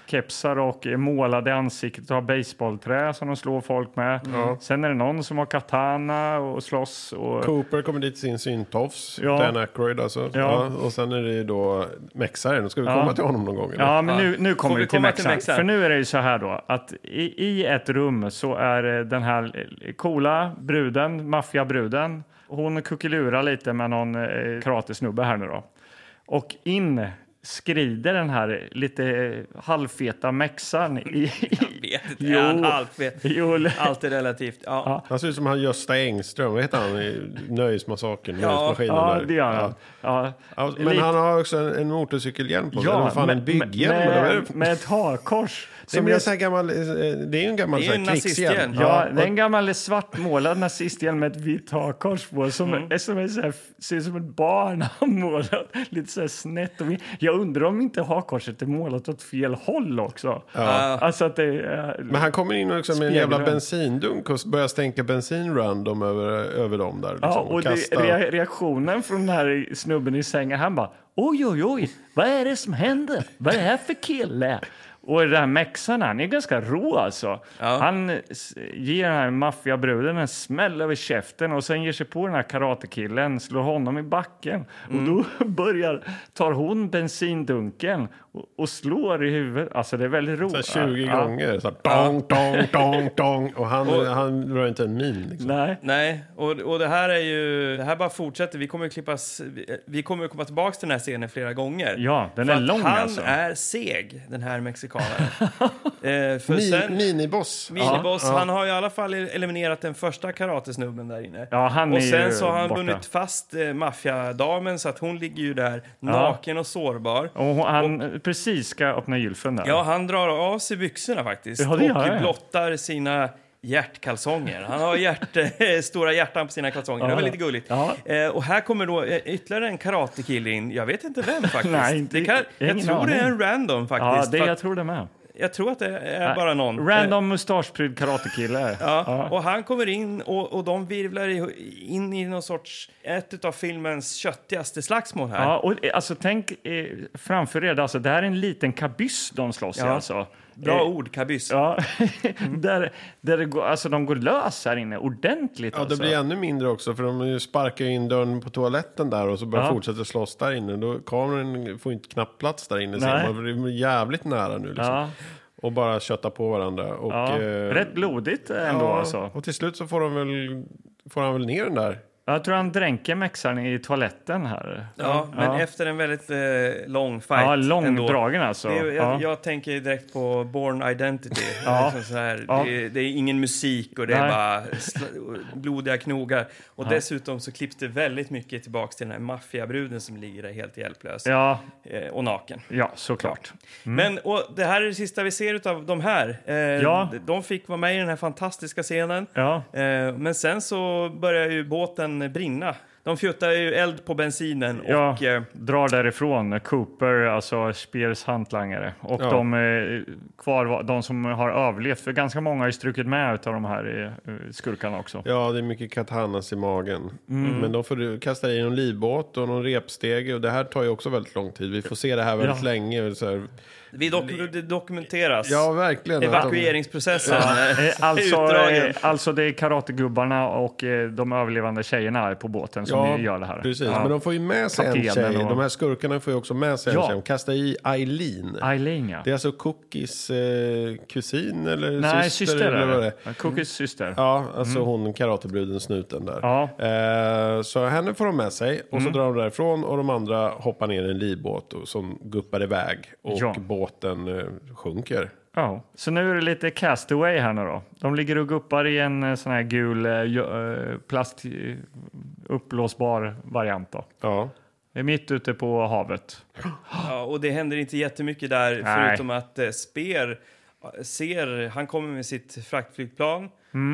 S1: baseballkepsar och är målade i ansiktet och har baseballträ som de slår folk med. Sen är det någon som har katana och slåss. Och,
S3: Cooper kommer dit i sin syntofs,
S1: Ja.
S3: Dan Aykroyd alltså. Ja. och sen är det ju då mexaren, ska vi komma till honom någon gång? Eller?
S1: Ja, men nu, nu kommer
S2: vi
S1: vi till
S2: komma till
S1: Mexan.
S2: Mexan?
S1: För nu är det ju så här då, att i, i ett rum så är eh, den här eh, coola bruden, maffiabruden, hon kuckelurar lite med någon eh, karatesnubbe här nu då. Och in skrider den här lite eh, halvfeta mexan i...
S2: Vet inte,
S1: Jo.
S2: är han halvt vet.
S1: Jo,
S2: Allt är relativt. Ja.
S1: Ja.
S3: Han ser ut som han Gösta Engström, vad heter han i Nöjesmassakern, Nöjesmaskinen
S1: ja,
S3: där.
S1: det gör han. Ja.
S3: Ja, men
S1: Lite-
S3: han har också en, en motorcykelhjälm på sig, eller vad fan, en bygghjälm. eller vad är det
S1: med,
S3: för-
S1: med ett hakkors.
S3: Nej,
S1: som
S3: men det, är
S1: jag-
S3: så här gammal, eh, det är ju en gammal
S2: Det är
S3: så här
S2: en
S3: krigshjälm.
S2: nazisthjälm.
S1: Ja, det är en gammal svartmålad nazisthjälm med ett vitt hakkors på som, är, som är så här, ser ut som ett barn har målat lite så här snett. Och, vi- jag undrar om inte hakkorset är målat åt fel håll också. Alltså att det är...
S3: Men han kommer in också med en
S1: Spegelvänd.
S3: jävla bensindunk och börjar stänka bensin random över, över dem där. Liksom,
S1: Ja, och det,
S3: kasta-
S1: rea- reaktionen från den här snubben i sängen, han bara oj, oj, oj, vad är det som händer? Vad är det här för kille? Och den här mexaren, han är ganska rå alltså. Han s- ger den här maffiabruden en smäll över käften och sen ger sig på den här karatekillen, slår honom i backen. Och då börjar, tar hon bensindunken och, och slår i huvudet. Alltså det är väldigt roligt.
S3: Så här 20
S1: Ja.
S3: gånger. Så här, dong, dong, dong, dong. Och han, han rör inte en min. Liksom.
S1: Nej.
S2: Nej, och, och det här är ju... Det här bara fortsätter. Vi kommer ju klippas, vi- vi kommer ju komma tillbaka till den här scenen flera gånger.
S1: Ja, den
S2: För
S1: är
S2: att
S1: lång
S2: han
S1: alltså.
S2: är seg, den här mexikanaren. eh, för
S3: Min,
S2: sen...
S3: miniboss.
S2: Miniboss, han har ju i alla fall eliminerat den första karatesnubben där inne.
S1: Ja, han
S2: och
S1: är
S2: sen
S1: ju
S2: så har han
S1: borta.
S2: bundit fast eh, maffiadamen så att hon ligger ju där naken och sårbar.
S1: Och hon- han precis ska öppna gylfen där.
S2: Ja, han drar av sig byxorna faktiskt
S1: Ja, det gör
S2: och
S1: han.
S2: blottar sina hjärtkalsonger. Han har hjärt, stora hjärtan på sina kalsonger. det var
S1: Ja.
S2: lite gulligt.
S1: Ja.
S2: Eh, och här kommer då eh, ytterligare en karatekille in. Jag vet inte vem faktiskt.
S1: Nej, inte-
S2: det kan,
S1: ingen
S2: jag tror det är
S1: aning.
S2: en random
S1: Ja,
S2: faktiskt.
S1: det,
S2: för
S1: jag
S2: att,
S1: tror det med.
S2: jag tror att det är bara någon. Eh,
S1: Random mustaschprydd karatekille.
S2: Ja, Och han kommer in och, och de virvlar i- in i någon sorts, ett av filmens köttigaste slagsmål här.
S1: Ja, och, eh, alltså, tänk eh, framför er, alltså, det här är en liten kabyss de slåss i.
S2: Ja.
S1: Alltså.
S2: Bra
S1: Eh,
S2: ord, Mm. kabyss.
S1: Ja, där, där det går, alltså, de går lös här inne ordentligt.
S3: Ja, det
S1: alltså.
S3: blir ännu mindre också för de ju sparkar ju in dörren på toaletten där och så börjar
S1: Ja.
S3: fortsätta slåss där inne. Då, kameran får ju inte knappt plats där inne.
S1: Nej.
S3: Sen. Man är jävligt nära nu liksom.
S1: Ja.
S3: Och bara kötta på varandra. Och,
S1: ja.
S3: eh,
S1: Rätt blodigt ändå.
S3: ja,
S1: Alltså.
S3: och till slut så får, de väl, får han väl ner den där.
S1: Jag tror han dränker mexaren i toaletten här.
S2: Ja, men efter en väldigt eh, lång fight.
S1: Ja,
S2: ändå.
S1: långdragen alltså.
S2: Det är,
S1: ja.
S2: jag, jag tänker direkt på Born Identity. liksom så här.
S1: Ja.
S2: Det, är, det är ingen musik och det är
S1: Nej.
S2: bara sl- blodiga knogar. Och dessutom så klipps det väldigt mycket tillbaks till den här maffiabruden som ligger där helt hjälplös
S1: Ja, Mm.
S2: eh, och naken.
S1: ja, såklart.
S2: Men och det här är det sista vi ser av de här. Eh,
S1: Ja.
S2: d- De fick vara med i den här fantastiska scenen.
S1: Ja.
S2: Eh, men sen så börjar ju båten brinna. De fjuttar ju eld på bensinen
S1: Ja,
S2: och eh,
S1: drar därifrån. Cooper, alltså Spears hantlangare. Och
S3: Ja.
S1: de, eh, kvar, de som har överlevt, för ganska många har ju strukit med av de här eh, skurkarna också.
S3: Ja, det är mycket katanas i magen.
S1: Mm.
S3: Men de får du kasta i någon livbåt och någon repstege. Och det här tar ju också väldigt lång tid. Vi får se det här väldigt
S1: Ja.
S3: länge. Så här.
S2: vi dok- det dokumenteras.
S3: Ja, verkligen. att de-
S2: Evakueringsprocessen
S1: Eh,
S2: eh, är
S1: Alltså,
S2: utdragen.
S1: eh, alltså det är karategubbarna och eh, de överlevande tjejerna är på båten som som gör det här.
S3: Precis,
S1: Ja.
S3: men de får ju med sig en
S1: Paketen
S3: tjej.
S1: och-
S3: De här skurkarna får ju också med sig en
S1: Ja.
S3: tjej. De kastar i Eileen.
S1: Eileen, ja.
S3: Det är alltså Cookies eh, kusin eller
S1: Nej,
S3: syster,
S1: syster,
S3: eller
S1: är
S3: vad det är. Mm.
S1: det. Ja, Cookies syster.
S3: Ja, alltså hon karatebruden snuten där.
S1: Ja.
S3: Eh, så henne får de med sig och så drar de därifrån och de andra hoppar ner i en livbåt och, som guppar iväg och
S1: Ja.
S3: båten eh, sjunker.
S1: Ja. Så nu är det lite castaway här nu då. De ligger och guppar i en eh, sån här gul eh, gö- eh, plast eh, uppblåsbar variant då.
S3: Ja.
S1: Det är mitt ute på havet.
S2: Ja, och det händer inte jättemycket där,
S1: Nej.
S2: förutom att eh, Speer eh, ser, han kommer med sitt fraktflygplan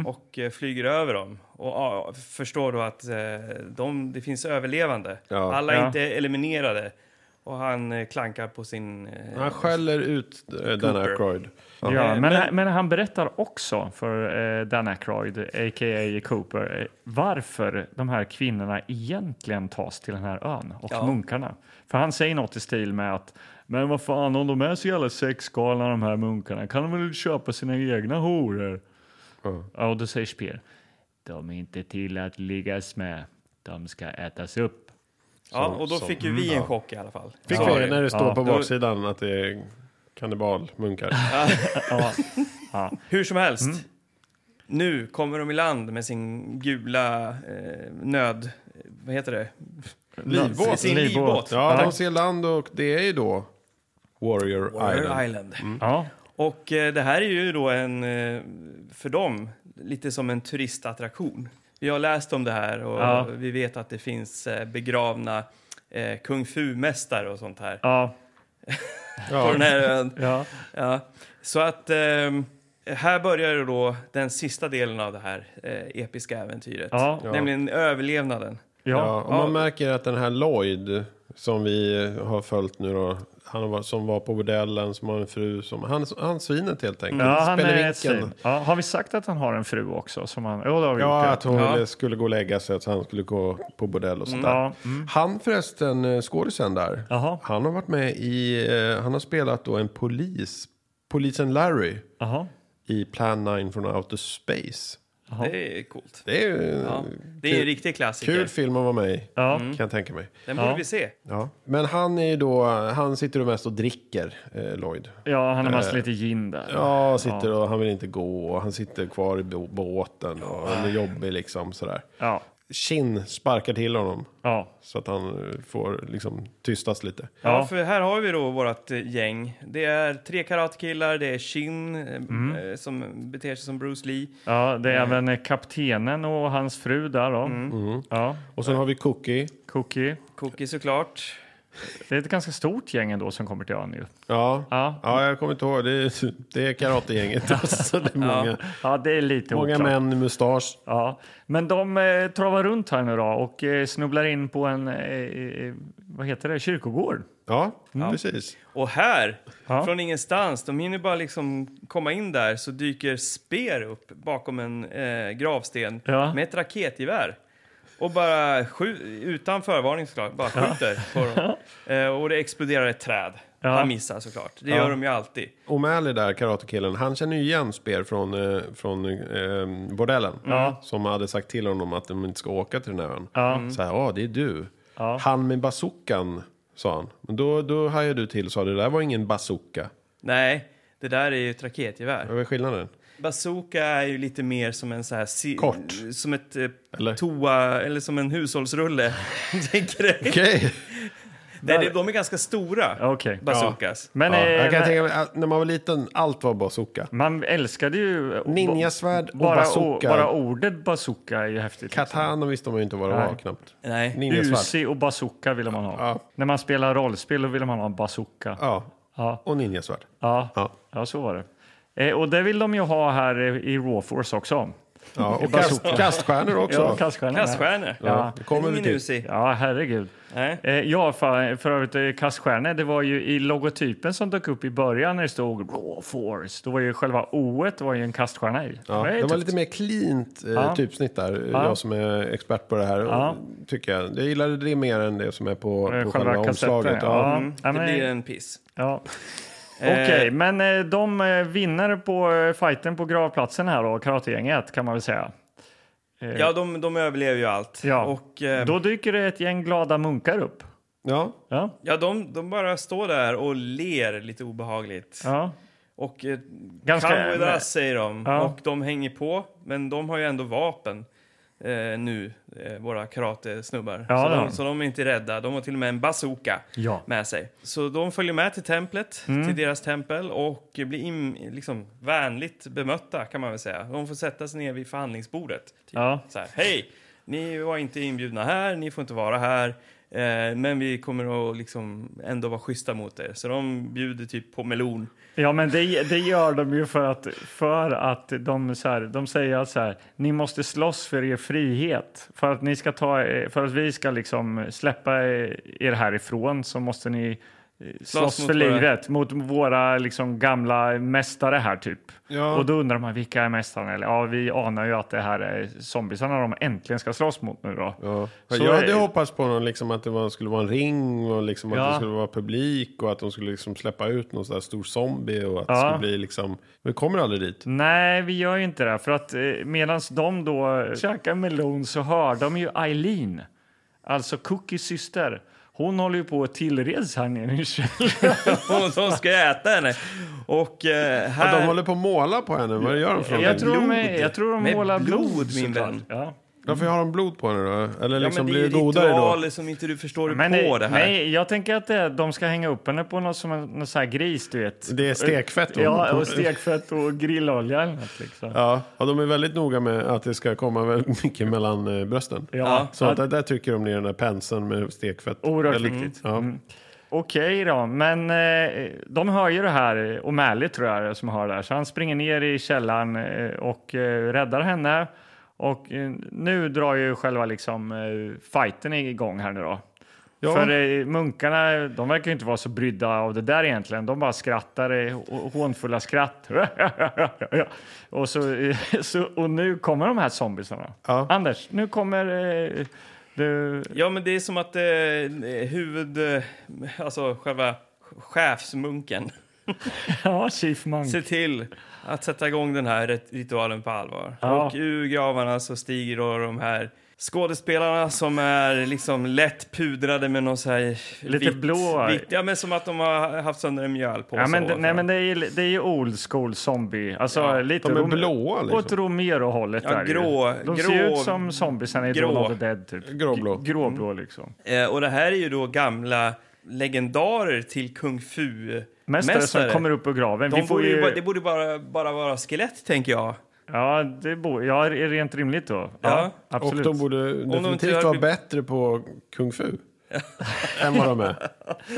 S2: och eh, flyger över dem. Och ja, förstår då att eh, de, det finns överlevande.
S3: Ja.
S2: Alla är
S1: Ja.
S2: inte eliminerade. Och han eh, klankar på sin... eh,
S3: Han skäller ut eh, Dan Aykroyd. Ja.
S1: Ja, men,
S2: men-
S1: men, han berättar också för eh, Dan Aykroyd, a.k.a. Cooper, eh, varför de här kvinnorna egentligen tas till den här ön och
S2: Ja.
S1: munkarna. För han säger något i stil med att men vad fan, om de är så jävla sexgalna de här munkarna kan de väl köpa sina egna horor? Ja, och då säger Speer, de är inte till att liggas med, de ska ätas upp.
S2: ja, och då fick ju vi en chock i alla fall.
S3: Fick
S2: Ja.
S3: vi när det står
S1: Ja.
S3: på
S2: Då-
S3: baksidan att det är kannibalmunkar.
S2: Hur som helst. Nu kommer de i land med sin gula eh, nöd... Vad heter det?
S3: Livbåt.
S2: Sin
S1: Livbåt.
S2: livbåt.
S3: Ja, de ser land och det är ju då Warrior, Island.
S2: Island.
S1: Ja,
S2: Och eh, det här är ju då en, eh, för dem, lite som en turistattraktion. Vi har läst om det här och
S1: Ja.
S2: vi vet att det finns eh, begravna eh, kung fu-mästare och sånt här
S1: ja,
S2: på den här ön.
S1: ja.
S2: Ja. Så att ehm, här börjar ju då den sista delen av det här eh, episka äventyret.
S1: Ja. Ja.
S2: Nämligen överlevnaden.
S1: ja.
S3: Ja, och man märker att den här Lloyd som vi har följt nu då. Han var, som var på bordellen, som har en fru. Som, han, han svinet helt enkelt.
S1: Ja, han är ett
S3: Spelvinkeln.
S1: svin. Ja, har vi sagt att han har en fru också? Som han, ja, det har vi
S3: Ja,
S1: gjort.
S3: att
S1: Ja.
S3: hon
S2: Ja.
S3: skulle gå och lägga sig, att han skulle gå på bordell och sådär.
S1: Ja,
S3: Han förresten, eh, skådisen där,
S1: Jaha.
S3: han har varit med i, eh, han har spelat då en polis, polisen Larry
S1: Jaha.
S3: i Plan 9 från Outer Space.
S2: Det är coolt.
S3: Det är ju en
S2: Ja. Det är en riktig klassiker.
S3: kul film att vara med i,
S1: Ja.
S3: kan jag tänka mig.
S2: Den borde
S1: Ja.
S2: vi se.
S3: Ja. Men han är ju då, han sitter ju mest och dricker, eh, Lloyd.
S1: ja, han har mest lite gin där.
S3: Ja, han sitter och han vill inte gå och han sitter kvar i bo- båten och han är jobbig liksom sådär.
S1: Ja,
S3: Shin sparkar till honom
S1: ja,
S3: så att han eh, får liksom tystas lite.
S2: Ja.
S1: ja,
S2: för här har vi då vårt eh, gäng. Det är tre karatekillar, det är Shin eh,
S1: Mm.
S2: eh, som beter sig som Bruce Lee.
S1: ja. Det är
S3: Mm.
S1: även eh, kaptenen och hans fru där då. Ja,
S3: Och sen har vi Cookie.
S1: Cookie.
S2: Cookie såklart.
S1: Det är ett ganska stort gäng ändå som kommer till ön ju.
S3: Ja,
S1: Ja.
S3: ja jag kommer inte ihåg. Det är, det är karategänget. Alltså, det är många,
S1: Ja, det är lite
S3: många
S1: oklart.
S3: män i mustasch.
S1: Ja, men de eh, travar runt här nu då och eh, snubblar in på en, eh, eh, vad heter det, kyrkogård.
S3: Ja,
S1: Mm.
S3: precis.
S2: Och här,
S1: Ja.
S2: från ingenstans, de hinner bara liksom komma in där så dyker Speer upp bakom en eh, gravsten
S1: Ja.
S2: med ett raketgevär. Och bara skju- utan förvarning såklart, bara skjuter på dem. Eh, och det exploderar ett träd.
S1: Ja.
S2: Han missar såklart, det gör de ju alltid.
S3: O'Malley där, karatekillen, han känner ju igen Speer från, eh, från eh, bordellen. Som hade sagt till honom att de inte ska åka till den här ön. Så här, ja det är du. Han med bazookan, sa han. Men då, då hajade du till och sa, det där var ingen bazooka.
S2: Nej, det där är ju ett raketgevär.
S3: Vad är skillnaden?
S2: Bazooka är ju lite mer som en så här... Si-
S3: Kort.
S2: Som ett eh,
S3: Eller?
S2: toa... Eller som en hushållsrulle. Tänker du?
S3: Okej.
S2: Nej, det- de är ganska stora,
S1: Okej.
S2: bazookas.
S1: Men eh,
S3: Ja, jag kan
S1: när-
S3: tänka mig, att när man var liten, allt var bazooka.
S1: man älskade ju... eh,
S3: Ninjasvärd och
S1: Bara, o-
S3: bazooka.
S1: bara ordet bazooka är ju häftigt.
S3: Katana visste man ju inte vad det var knappt.
S2: Nej.
S3: Ninjasvärd.
S1: Uzi och bazooka ville man ha.
S3: Ja.
S1: När man spelar rollspel då ville man ha en bazooka. Ja,
S3: Ja. Och ninjasvärd.
S1: ja.
S3: Ja.
S1: så var det. Eh, och det vill de ju ha här eh, i Raw Force också.
S3: Ja, och kast, kaststjärnor också.
S1: Ja, kaststjärnorna.
S2: Kaststjärnor.
S3: Ja, det kommer vi
S2: Ingen
S3: till.
S2: usig.
S1: Ja, herregud.
S2: Nej.
S1: Eh, ja, för, för övrigt, eh, kaststjärnor, det var ju i logotypen som dök upp i början när det stod Raw Force. Då var ju själva O var ju en kaststjärna i.
S3: Ja,
S1: är
S3: det var
S1: tufft.
S3: lite mer cleant eh, typsnitt där. Jag som är expert på det här. och Tycker jag. jag gillade det mer än det som är på,
S1: Eh,
S3: på själva,
S1: kassetten,
S3: omslaget. Ja.
S1: Ja. Ja,
S2: Mm. Det
S1: men-
S2: blir en piss.
S1: Ja. Okej, men eh, de eh, vinner på eh, fighten på gravplatsen här då, karategänget kan man väl säga.
S2: Ja, de, de överlever ju allt.
S1: Ja.
S2: Och, eh,
S1: Då dyker det ett gäng glada munkar upp.
S3: Ja,
S1: Ja,
S2: ja, de, de bara står där och ler lite obehagligt.
S1: ja.
S2: Och eh,
S1: Ganska-
S2: come with us, säger de.
S1: Ja.
S2: Och de hänger på, men de har ju ändå vapen eh, nu, eh, våra karatesnubbar.
S1: Ja,
S2: så,
S1: det har
S2: de,
S1: de.
S2: så de är inte rädda. De har till och med en bazooka
S1: Ja. Mm.
S2: med sig. Så de följer med till templet, till deras tempel och blir in, liksom, vänligt bemötta, kan man väl säga. De får sätta sig ner vid förhandlingsbordet. Typ.
S1: Ja.
S2: Så här, hej, ni var inte inbjudna här, ni får inte vara här. Eh, men vi kommer att liksom ändå vara schyssta mot er. Så de bjuder typ på melon.
S1: Ja, men det, det gör de ju för att, för att de, så här, de säger att så här, ni måste slåss för er frihet. För att, ni ska ta, eh, för att vi ska liksom släppa eh, er härifrån så måste ni eh, slåss
S2: mot
S1: för
S2: våra-
S1: livet mot våra liksom, gamla mästare här typ.
S3: Ja.
S1: Och då undrar man vilka är mästarna? Eller, ja, vi anar ju att det här är zombisarna de äntligen ska slåss mot nu då.
S3: Ja.
S1: Så
S3: jag hade
S1: är-
S3: hoppats på någon, liksom, att det var, skulle vara en ring och liksom, att
S1: Ja.
S3: det skulle vara publik och att de skulle liksom, släppa ut någon sån här stor zombie och att
S1: Ja.
S3: det skulle bli liksom... Men vi kommer aldrig dit.
S1: Nej, vi gör ju inte det. För att eh, medan de då eh, käkar melon så hör de ju Eileen, alltså Cookies syster. Hon håller ju på och tillreds här nere i källaren.
S2: Hon som ska äta henne. Och eh,
S3: Ja,
S2: här...
S3: de håller på att måla på henne. Vad gör de för
S1: Jag
S3: någonting?
S1: tror de, jag tror de
S2: Med
S1: målar blod,
S2: blod, min
S1: såklart.
S2: vän.
S1: Ja.
S3: Varför har de blod på henne då? Eller
S2: ja,
S3: liksom,
S2: men
S3: blir
S2: det är
S3: det
S2: ju
S3: godare då?
S2: ritualer som inte du förstår dig
S1: Men
S2: på
S1: nej,
S2: det här.
S1: nej, jag tänker att det, de ska hänga upp henne på något som en någon sån här gris, du vet.
S3: Det är stekfett.
S1: Ja, och stekfett och grillolja eller något liksom. Ja.
S3: Ja, ja, de är väldigt noga med att det ska komma väldigt mycket mellan eh, brösten.
S2: Ja.
S3: Så att, där, där trycker de ner den här penseln med stekfett.
S1: Oerhört
S3: Eller-
S1: viktigt. Mm,
S3: Ja.
S1: Okej då, men eh, de hör ju det här, och Mally tror jag det är som hör det här, så han springer ner i källaren eh, och eh, räddar henne. Och eh, nu drar ju själva liksom eh, fighten igång här nu då.
S3: Ja.
S1: För eh, munkarna, de verkar ju inte vara så brydda av det där egentligen. De bara skrattar, eh, hå- hånfulla skratt. och, så, eh, så, och nu kommer de här zombisarna.
S3: Ja.
S1: Anders, nu kommer... Eh, du,
S2: Ja, men det är som att eh, huvud... Eh, alltså själva chefsmunken
S1: ja, Chief Monk.
S2: ser till att sätta igång den här rit- ritualen på allvar.
S1: Ja.
S2: Och ur gravarna så stiger då de här skådespelarna som är liksom lätt pudrade med någon så här...
S1: Lite blå.
S2: Vitt, ja, men som att de har haft sönder en mjölpåse.
S1: Ja, men,
S2: ovanför.
S1: nej, men det är ju, det är ju old school zombie. Alltså, lite
S3: de är
S1: Rom-
S3: blåa, liksom.
S1: Åt Romero-hållet.
S2: Ja,
S1: där ju.
S2: grå-
S1: de ser
S2: grå-
S1: ut som zombiesarna i
S2: grå.
S1: Dawn of the Dead. Typ.
S3: Gråblå.
S1: G- Gråblå, liksom.
S2: Eh, och det här är ju då gamla legendarer till kung fu
S1: Mästare, som kommer upp ur graven.
S2: De
S1: Vi får
S2: borde ju...
S1: ju,
S2: bara- Det borde bara, bara vara skelett, tänker jag.
S1: ja, det bo, ja, är rent rimligt då. Ja,
S2: Ja.
S3: Och
S1: absolut.
S3: de borde
S2: inte
S3: definitivt
S2: har
S3: vara
S2: blivit-
S3: bättre på kung fu än vad de är.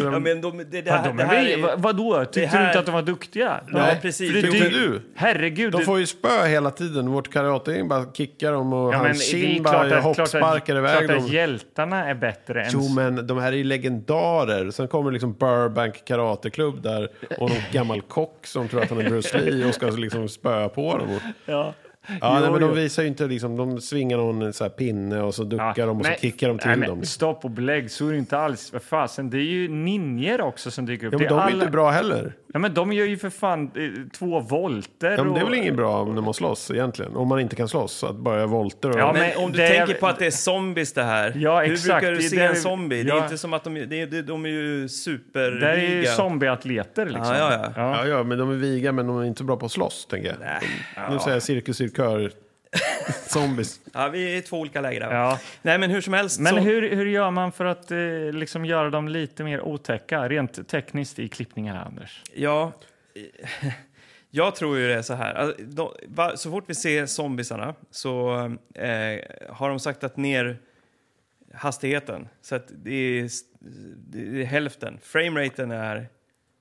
S2: Ja, men de, det, det,
S1: Ja,
S2: här,
S1: de
S2: det
S1: är,
S2: här
S1: väl-
S2: är...
S1: vad- vadå, tyckte
S2: här-
S1: du inte att de var duktiga?
S2: Nej, precis.
S1: För det
S3: Tyckte
S1: är
S3: du?
S1: Herregud.
S3: De
S1: det-
S3: får ju spö hela tiden. Vårt karategäng bara kickar dem och
S1: ja, men
S3: hans
S1: det är
S3: kind
S1: klart
S3: bara
S1: att, klart
S3: hoppsparkar
S1: att,
S3: iväg
S1: klart att
S3: dem.
S1: hjältarna är bättre än
S3: Jo, men de här är ju legendarer. Sen kommer liksom Burbank karateklubb där och någon gammal kock som tror att han är Bruce Lee och ska liksom spöa på dem.
S1: Ja.
S3: Ja, nej,
S1: Jo,
S3: men
S1: jo.
S3: de visar ju inte liksom, de svingar någon så här pinne och så duckar de och så
S1: men-
S3: kickar de till
S1: nej, men
S3: dem.
S1: Stopp och belägg, så är det inte alls. Vad fasen, det är ju ninjer också som dyker upp.
S3: Ja, men
S1: Det
S3: de är
S1: alla-
S3: inte bra heller.
S1: Ja, men de gör ju för fan eh, två volter.
S3: Ja, men det är
S1: och-
S3: väl inget bra om- när man slåss egentligen? Om man inte kan slåss, att bara göra volter och...
S1: Ja,
S2: Men
S1: men
S2: om du
S1: det-
S2: tänker på att det är zombies det här.
S1: Ja,
S2: Hur
S1: exakt,
S2: brukar du
S1: det är
S2: se
S1: det-
S2: en zombie? Det är
S1: ja.
S2: inte som att de, det är, det- de är ju
S1: Det är ju
S2: superliga.
S1: zombieatleter liksom.
S2: Ja, ja, ja.
S3: ja, ja, men de är viga men de är inte så bra på att slåss, tänker jag. Nu säger jag cirkus, cirkör, zombies.
S2: Ja, vi är i två olika läger där. va?
S1: Ja.
S2: Nej, men hur som helst.
S1: Men
S2: så,
S1: hur, hur gör man för att eh, liksom göra dem lite mer otäcka, rent tekniskt i klippningarna, Anders?
S2: Ja, jag tror ju det är så här. Alltså, de, va, så fort vi ser zombisarna så eh, har de saktat ner hastigheten. Så att det är, s- det är hälften. Frameraten är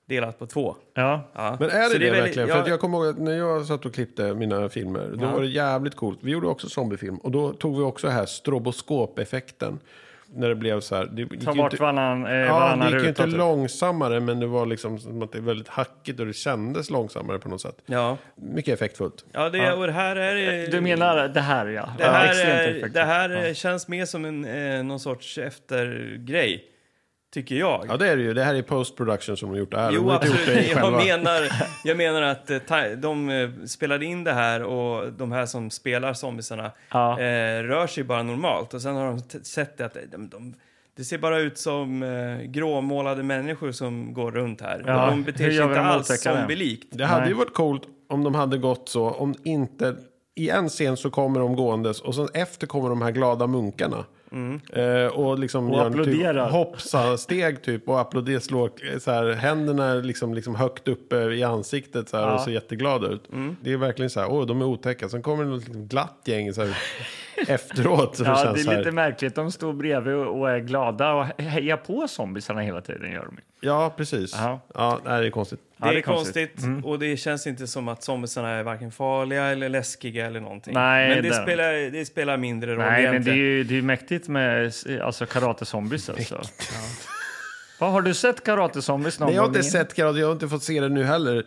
S2: delat på två.
S1: Ja,
S2: Ja.
S3: Men är det
S2: Så
S3: det,
S2: väldigt-
S3: verkligen? För
S2: ja,
S3: att jag kommer ihåg att när jag satt och klippte mina filmer, då var det jävligt coolt. Vi gjorde också zombiefilm och då tog vi också här stroboskopeffekten. När det blev så här... Det gick
S1: ta
S3: ju
S1: bort varannan, eh,
S3: Ja, det
S1: varannan
S3: gick ju
S1: ruta.
S3: inte
S1: typ.
S3: långsammare, men det var liksom som att det är väldigt hackigt och det kändes långsammare på något sätt.
S2: ja.
S3: Mycket effektfullt.
S2: ja, det, och det här är... det-
S1: Eh, Du menar det här, ja.
S2: Det här,
S1: extremt
S2: är,
S1: effektivt.
S2: det här eh, känns mer som en, eh, någon sorts eftergrej tycker jag.
S3: Ja, det är det ju. Det här är post production som de har gjort det här. de
S2: Jo,
S3: har inte gjort det
S2: absolut. Jag
S3: själva.
S2: menar, jag menar att eh, ta- de eh, spelade in det här och de här som spelar zombiesarna
S1: Ja.
S2: eh, rör sig bara normalt. Och sen har de t- sett det att eh, de, de, det ser bara ut som eh, gråmålade människor som går runt här.
S1: Ja,
S2: Och de
S1: hur
S2: beter sig
S1: gör vi
S2: inte
S1: de
S2: alls
S1: otäcka det?
S2: zombielikt.
S3: Det hade ju varit coolt om de hade gått så, om inte... I en scen så kommer de gåendes och sen efter kommer de här glada munkarna.
S1: Mm.
S3: Eh, och liksom
S1: Och
S3: gör en
S1: applåderar.
S3: Typ, hoppsa-steg typ och applåderar, slår eh, så här, händerna liksom, liksom högt uppe i ansiktet så här, och ser jätteglada ut.
S1: Mm.
S3: Det är verkligen så här, åh de är otäcka. Sen kommer det något liksom glatt gäng så här, efteråt. Så det
S1: Ja,
S3: känns
S1: det
S3: så
S1: är
S3: här,
S1: lite märkligt. De står bredvid och och är glada och he- hejar på zombiesarna hela tiden. gör de. ju.
S3: ja precis.
S1: Ja.
S3: Ja, nej, det är konstigt.
S2: Det,
S1: det
S2: är
S1: är Mm.
S2: konstigt, och det känns inte som att zombiesarna är varken farliga eller läskiga eller någonting.
S1: Nej,
S2: men det,
S1: det är de
S2: spelar, det spelar mindre roll
S1: Nej, men det är
S2: egentligen.
S1: ju det är mäktigt med s- alltså, karate-zombies. Alltså. Ja. Vad, Har du sett karate-zombies någon
S3: Nej, jag har
S1: gång?
S3: inte sett Karate, jag har inte fått se det nu heller,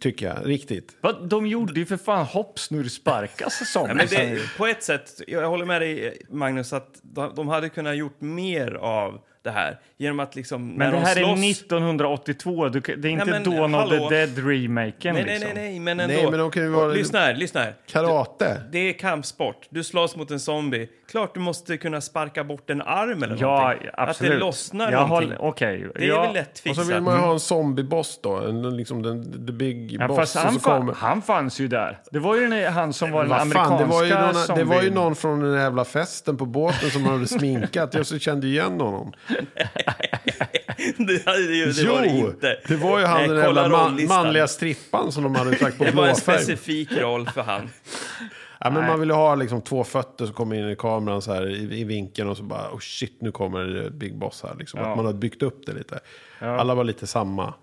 S3: tycker jag. Riktigt.
S1: Va? De gjorde ju för fan hopp, snurr, spark, alltså,
S2: Ja, men
S1: zombies.
S2: det, på ett sätt, jag håller med dig Magnus, att de, de hade kunnat gjort mer av det här. Genom att liksom, när
S1: Men det
S2: de
S1: här
S2: slåss,
S1: är 1982. Du, kan- det är inte
S2: men
S1: Dawn of
S2: hallå.
S1: the Dead-remaken.
S2: Nej, nej,
S1: liksom.
S2: nej, nej, men ändå.
S3: Nej, men de kan ju vara-
S2: Lyssna här, lyssna här.
S3: Karate?
S2: Det är kampsport. Du slåss mot en zombie. Klart du måste kunna sparka bort en arm eller
S1: Ja,
S2: någonting.
S1: absolut.
S2: Att det lossnar
S1: jag
S2: någonting.
S1: håll- Okej.
S2: Det är
S1: ja.
S2: väl lätt
S3: Och så
S2: fixat.
S3: vill man ju ha en zombieboss då, en, liksom den, the big
S1: Ja,
S3: boss.
S1: fast
S3: Och
S1: han,
S3: så
S1: fa-
S3: kommer...
S1: han fanns ju där. Det var ju den, han som var den
S3: Vad fan, det
S1: amerikanska
S3: var, ju någon, det
S1: zombien.
S3: var ju någon från den där jävla festen på båten som hade sminkat. Jag så kände igen honom.
S2: det, det, det var det inte.
S3: det var ju han
S2: Nej,
S3: den där jävla
S2: kolla
S3: man,
S2: rollistan.
S3: manliga strippan som de hade sagt på
S2: Det var en
S3: blåfärg.
S2: specifik roll för han.
S3: Ja, men man ville ha liksom två fötter som kommer in i kameran så här i, i vinkeln och så bara oh shit nu kommer Big Boss här liksom. Att man hade byggt upp det lite. Alla var lite samma. Och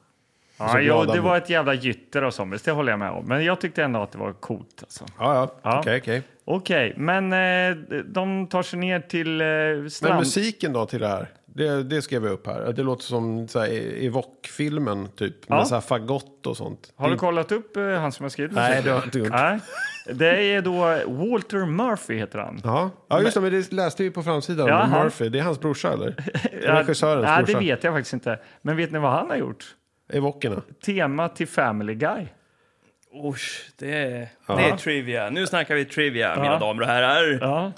S3: så
S1: Ja, jo,
S3: glada
S1: det
S3: mot-
S1: var ett jävla gytter av zombies, det håller jag med om. Men jag tyckte ändå att det var coolt. Alltså.
S3: Ja, ja. Okej,
S1: Ja.
S3: okej.
S1: Okej, men eh, de tar sig ner till eh,
S3: Men
S1: strand...
S3: musiken då till det här? Det, det skrev jag upp här. Det låter som så här, Evoc-filmen typ.
S1: Ja.
S3: Med så här fagott och sånt.
S1: Har du kollat upp eh, han som har skrivit
S3: Nej,
S1: musiken?
S3: det har jag inte gjort.
S1: Nej. Det är då Walter Murphy heter han.
S3: Jaha. Ja, just det. Men det läste vi på framsidan.
S1: Ja, han-
S3: Murphy. Det är hans brorsa eller? Regissörens
S1: ja, det
S3: brorsa.
S1: vet jag faktiskt inte. Men vet ni vad han har gjort?
S3: Evocerna.
S1: Tema till Family Guy.
S2: Usch, det är, det är trivia. Nu snackar vi trivia, mina
S1: Ja.
S2: damer och herrar.
S1: Ja.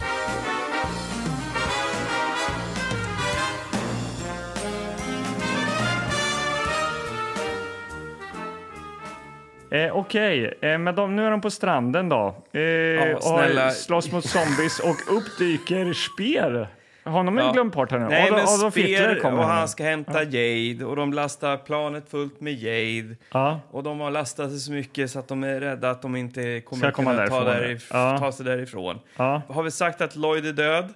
S1: Eh, Okej, eh, men de, nu är de på stranden då. Eh, och
S2: snälla.
S1: har- slåss mot zombies och uppdyker Speer. Honom har
S2: Ja.
S1: jag glömt bort här nu.
S2: Nej,
S1: Adol-
S2: men
S1: Adolf Hitler
S2: Speer
S1: kommer
S2: och
S1: här nu.
S2: han ska hämta Jade och de lastar planet fullt med Jade.
S1: Ja.
S2: Och de har lastat sig så mycket så att de är rädda att de inte kommer
S1: Ska
S2: att kunna
S1: komma
S2: ta,
S1: därifrån,
S2: därif-
S1: ja.
S2: ta sig därifrån.
S1: Ja.
S2: Har vi sagt att Lloyd är död?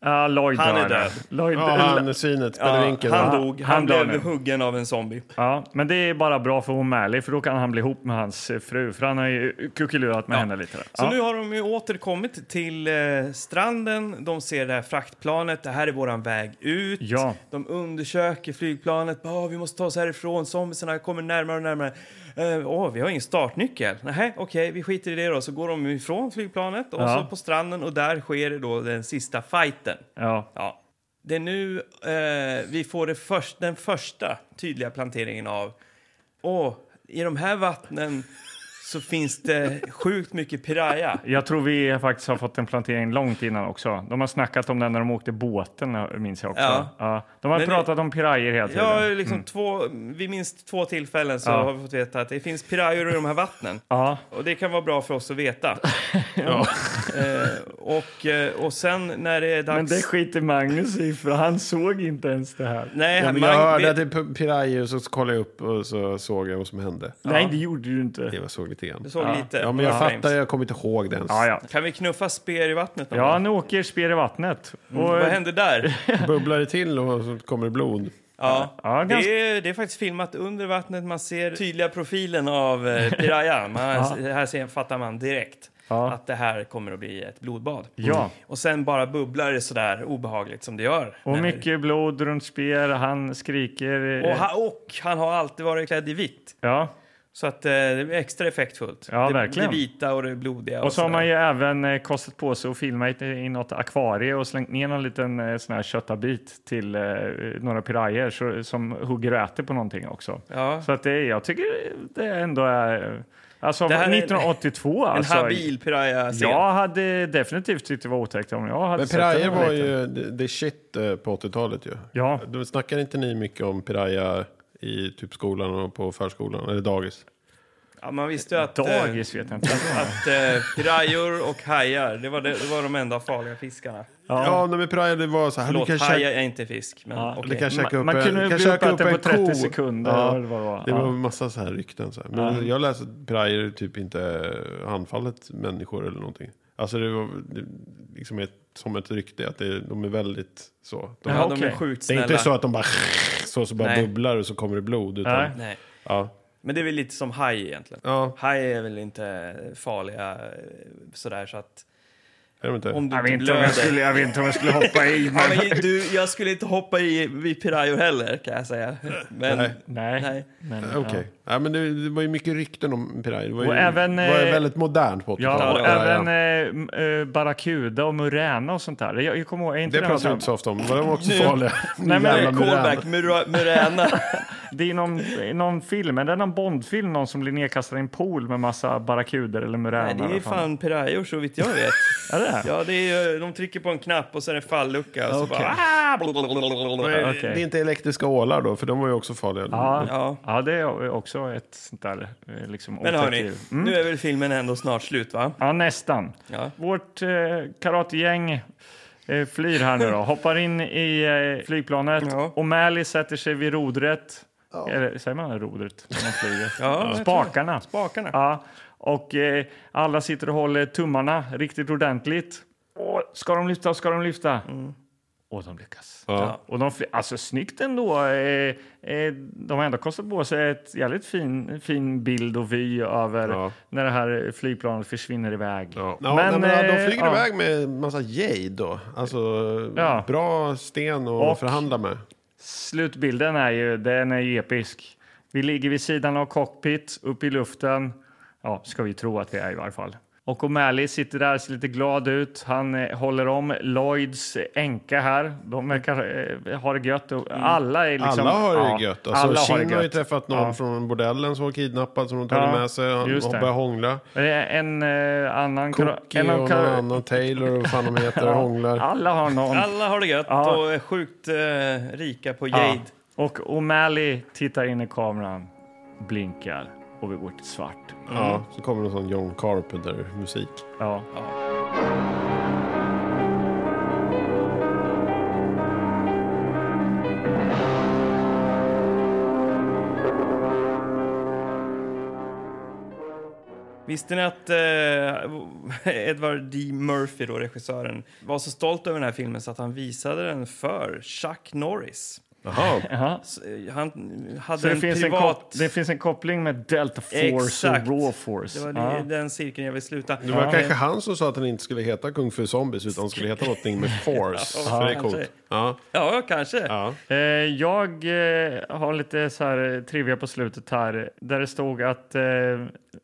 S1: Ja, Lloyd
S2: Han är
S1: dör.
S2: död.
S1: Lloyd,
S3: Ja, han svinet. Spelvinkeln.
S2: han
S3: Ja,
S2: dog. Han,
S1: han dör
S2: blev
S1: nu.
S2: huggen av en zombie.
S1: Ja, men det är bara bra för O'Malley för då kan han bli ihop med hans eh, fru för han har ju kuckelurat med henne lite. Där.
S2: Så
S1: ja.
S2: nu har de ju återkommit till eh, stranden. De ser det här fraktplanet. Det här är våran väg ut.
S1: Ja.
S2: De undersöker flygplanet. Bara, "Ah, vi måste ta oss härifrån. Zombiesarna kommer närmare och närmare. Eh, Åh, vi har ingen startnyckel. Nej, okej, vi skiter i det då. Så går de ifrån flygplanet och
S1: Ja.
S2: så på stranden och där sker det då den sista fighten.
S1: ja.
S2: Ja. Det är nu eh, vi får det först, den första tydliga planteringen av åh, i de här vattnen så finns det sjukt mycket piraya.
S1: Jag tror vi faktiskt har fått en plantering långt innan också. De har snackat om den när de åkte båten, minns jag också.
S2: Ja.
S1: Ja. De har
S2: Men-
S1: pratat om pirajer hela tiden.
S2: Ja, liksom
S3: Mm.
S2: två, vid minst två tillfällen så
S1: Ja.
S2: har vi fått veta att det finns pirajor i de här vattnen.
S1: Ja.
S2: Och det kan vara bra för oss att veta. eh, och, eh, och sen när det är dags...
S1: Men det skiter Magnus i, för han såg inte ens det här.
S2: Nej,
S3: Ja, men
S2: man-
S3: jag
S2: vi-
S3: hörde att det är pirajer och så kollade jag upp och så såg jag vad som hände.
S1: Nej, det gjorde du inte.
S3: Jag såg lite grann.
S2: Jag såg lite.
S3: Ja, men jag
S2: Ja.
S3: fattar. Jag kommer inte ihåg det ens.
S1: Ja, ja.
S2: Kan vi knuffa spear i vattnet? någon
S1: ja,
S2: gång?
S1: nu åker Speer i vattnet. Och,
S2: Vad hände där?
S3: Bubblar det till och så kommer det blod.
S2: Ja,
S1: Ja,
S2: det,
S1: ganska-
S2: är, det är faktiskt filmat under vattnet. Man ser tydliga profilen av eh, Piraya. Man, det Här ser, fattar man direkt
S1: Ja.
S2: att det här kommer att bli ett blodbad.
S1: Ja.
S2: Och sen bara bubblar det sådär obehagligt som det gör.
S1: och
S2: När-
S1: mycket blod runt Speer, han skriker. eh,
S2: och, han, och han har alltid varit klädd i vitt.
S1: ja.
S2: Så att eh, det är extra effektfullt.
S1: Ja,
S2: det,
S1: verkligen.
S2: det vita och det blodiga.
S1: Och så har
S2: sådär.
S1: man ju även eh, kostat på sig att filma i- i något akvarie och slängt ner en liten eh, sån här köttabit till eh, några pirajer så- som hugger och äter på någonting också.
S2: Ja.
S1: Så att det, är- jag tycker det ändå är... Alltså
S2: Det här är en-
S1: 1982
S2: En
S1: alltså.
S2: habil piraya-scen.
S1: Jag hade definitivt tyckt det var otäckt om jag hade
S3: Men
S1: sett det.
S3: Piraya
S1: när jag
S3: var
S1: liten.
S3: ju det det shit eh, på 80-talet ju.
S1: Ja.
S3: Då snackar inte ni mycket om Piraya i typ skolan och på förskolan eller dagis?
S2: Ja, man visste ju att,
S1: Dagis vet jag inte.
S2: eh, att eh, pirajor och hajar, det var, det, det var de enda farliga fiskarna.
S3: Ja, nej, men Piraya det var så här.
S2: Förlåt,
S3: du kan
S2: hajar
S3: käka,
S2: är inte fisk. Men,
S1: Ja,
S2: okej.
S3: du kan käka upp
S1: man
S3: en,
S1: kunde
S3: du
S1: bli
S3: kan käka upp
S1: uppäten
S3: en
S1: på 30
S3: ko.
S1: sekunder,
S3: Ja,
S1: eller vad det var. Ja.
S3: var massa så här rykten. Så här. Men jag läste att Piraya typ inte anfallit människor eller någonting. Alltså det var det, liksom ett, som ett rykte att det, de är väldigt så. De,
S2: Ja, de
S1: okej.
S2: är sjukt
S3: det är
S2: snälla.
S3: inte så att de bara så, så bara
S2: Nej.
S3: bubblar och så kommer det blod. Utan,
S1: Nej.
S2: Nej.
S3: Ja.
S2: Men det är väl lite som haj egentligen.
S3: Ja,
S2: Haj är väl inte farliga eh, sådär så att
S3: är de inte?
S2: om du
S1: Jag vet,
S2: inte
S1: inte om jag,
S2: blöder.
S1: skulle, jag vet inte om jag skulle hoppa i.
S2: Ja,
S1: Men...
S2: men du, jag skulle inte hoppa i vid pirajor heller kan jag säga. Men,
S3: Nej.
S1: Nej.
S2: nej.
S1: Men,
S3: Okej. Ja, men det, det var ju mycket rykten om Piraya. Det var ju
S1: Och även,
S3: det var ju
S1: eh,
S3: väldigt modernt på 80-talet.
S1: Ja, och
S2: det var
S3: Piraya.
S1: även eh, m- eh, Barracuda och Murena och sånt där. Jag, jag kommer ihåg, är inte
S3: Det
S1: det,
S3: pratar
S1: något
S3: vi inte
S1: sånt?
S3: så ofta om. Var de också farliga?
S1: Nej, men
S3: Jävla Muran.
S2: Callback, Mura- Murena.
S1: det är någon, någon film, är det någon Bondfilm, någon som blir nedkastad i en pool med massa barracuder eller Murena?
S2: Nej, det
S1: eller
S2: är
S1: vad
S2: fan pirajor så vitt jag vet.
S1: Är det?
S2: Ja, det är, ju- de trycker på en knapp och så är det en fallucka och så
S1: Okej.
S2: bara... Ah, blablabla.
S3: Men
S1: Okej.
S3: Det är inte elektriska ålar då, för de var ju också farliga.
S1: Ja.
S2: Ja.
S1: Ja. det är också ett sånt där eh, liksom,
S2: Men
S1: otäckt
S2: hörni,
S1: liv.
S2: nu är väl filmen ändå snart slut va?
S1: Ja, nästan.
S2: Ja.
S1: Vårt eh, karategäng eh, flyr här nu då. Hoppar in i eh, flygplanet.
S2: Ja.
S1: Och Mally sätter sig vid rodret. Eller säger man rodret? När man flyger?
S2: Ja, jag tror
S1: Spakarna.
S2: Spakarna.
S1: Ja. Och eh, alla sitter och håller tummarna riktigt ordentligt. Och, ska de lyfta? Ska de lyfta?
S2: Mm.
S1: Och de lyckas.
S3: Ja.
S1: Och de, fly- alltså snyggt ändå. Eh, eh, de har ändå kostat på sig ett jävligt fin, fin bild och vy över
S3: Ja.
S1: när det här flygplanet försvinner iväg.
S3: Ja. Ja, men, nej, men,
S1: eh,
S3: de flyger
S1: ja.
S3: iväg med massa jade då. Alltså
S1: Ja.
S3: bra sten att
S1: Och-
S3: förhandla med.
S1: Slutbilden är ju, den är ju episk. Vi ligger vid sidan av cockpit, upp i luften. Ja, ska vi tro att vi är i varje fall. Och O'Malley sitter där, ser lite glad ut. Han eh, håller om Lloyds änka här. De verkar eh, ha det gött. Och
S3: Mm.
S1: alla är liksom...
S3: alla har det
S1: ja,
S3: gött. Alltså,
S1: alla har
S3: Shin
S1: det
S3: har ju
S1: gött.
S3: träffat någon
S1: Ja.
S3: från bordellen som var kidnappad som de tog
S1: Ja,
S3: med sig. Han
S1: just det.
S3: började hångla.
S1: Det är En eh, annan...
S3: Cookie
S1: en av
S3: och någon
S1: kar-
S3: annan, Taylor och vad fan de heter, hånglar.
S1: Alla har någon.
S2: Alla har det gött
S1: Ja.
S2: och är sjukt eh, rika på
S1: Ja.
S2: jade.
S1: Och O'Malley tittar in i kameran, blinkar och vi går till svart.
S3: Ja, så kommer någon sån John Carpenter-musik.
S1: Ja.
S2: Visste ni att eh, Edward D. Murphy, då, regissören, var så stolt över den här filmen så att han visade den för Chuck Norris?
S3: Jaha,
S1: Jaha.
S2: Så, eh, Han hade
S1: Så det
S2: en
S1: finns, en
S2: privat...
S1: kop- det finns en koppling med Delta Force
S2: Exakt.
S1: och Raw
S2: Det
S1: Force.
S2: var
S1: Ja.
S2: det- den cirkeln jag ville sluta.
S3: Det var kanske han som sa att den inte skulle heta Kung Fu Zombies utan skulle heta någonting med Force. För det är
S2: kanske.
S3: coolt. Ja,
S2: Ja, kanske.
S3: ja.
S1: Eh, jag eh, har lite så här eh, trivia på slutet här där det stod att eh,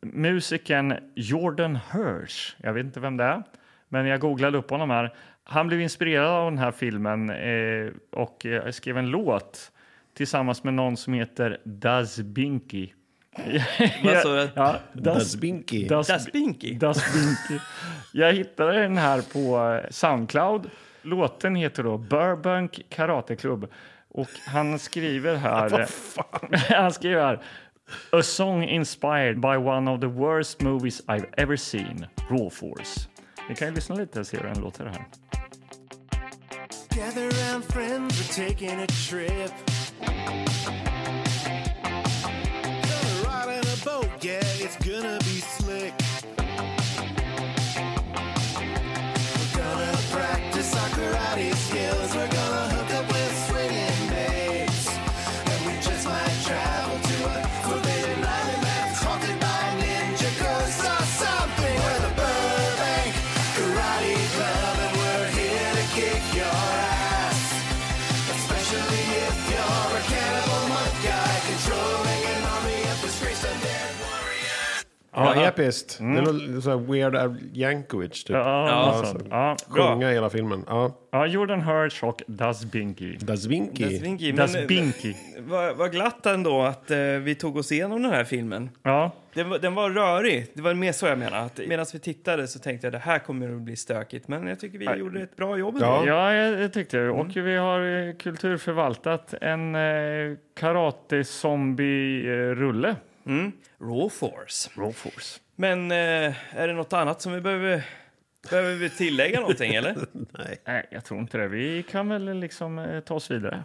S1: musikern Jordan Hirsch, jag vet inte vem det är, men jag googlade upp honom här. Han blev inspirerad av den här filmen eh, och eh, skrev en låt tillsammans med någon som heter Das Binky.
S2: Vad sa du?
S1: ja,
S3: Das Binky.
S1: Das,
S2: Das Binky.
S1: Das Binky. Jag hittade den här på eh, Soundcloud. Låten heter då Burbank Karate Club. Och han skriver här... eh, han skriver här... A song inspired by one of the worst movies I've ever seen, Raw Force. Vi kan ju lyssna lite och se hur den låter här.
S7: Gather round friends, we're taking a trip. Gonna ride in a boat, yeah, it's gonna be slick. We're gonna practice our karate skills, we're gonna hook up with swinging babes. And we just might travel to a forbidden island that's haunted by ninja ghosts or something. We're the Burbank Karate Club, and we're here to kick your ass. Especially if you're a cannibal monk guy controlling an army of disgraced undead.
S3: Ja, episkt. Det låter så här Weird Al Yankovic typ.
S1: Mm. Ja,
S2: Ja, alltså.
S1: något sånt. ja,
S2: Bra.
S3: Sjunga hela filmen. Ja.
S1: ja, Jordan Hirsch och Das Binky.
S3: Das Vinky.
S2: Slinky, men- eh,
S1: Das Binky.
S2: Vad vad glatt ändå att eh, vi tog oss igenom den här filmen.
S1: Ja,
S2: Den var, den var rörig. Det var mer så jag menar. att Medan vi tittade så tänkte jag det här kommer att bli stökigt. Men jag tycker vi gjorde ett bra jobb ändå.
S3: Ja.
S1: ja Mm. jag, jag tyckte det. Och vi har eh, kulturförvaltat en eh, karate-zombie-rulle.
S2: Raw force.
S1: Raw force.
S2: Men eh, är det något annat som vi behöver, behöver vi tillägga någonting eller?
S1: Nej, jag tror inte det. Vi kan väl liksom eh, ta oss vidare.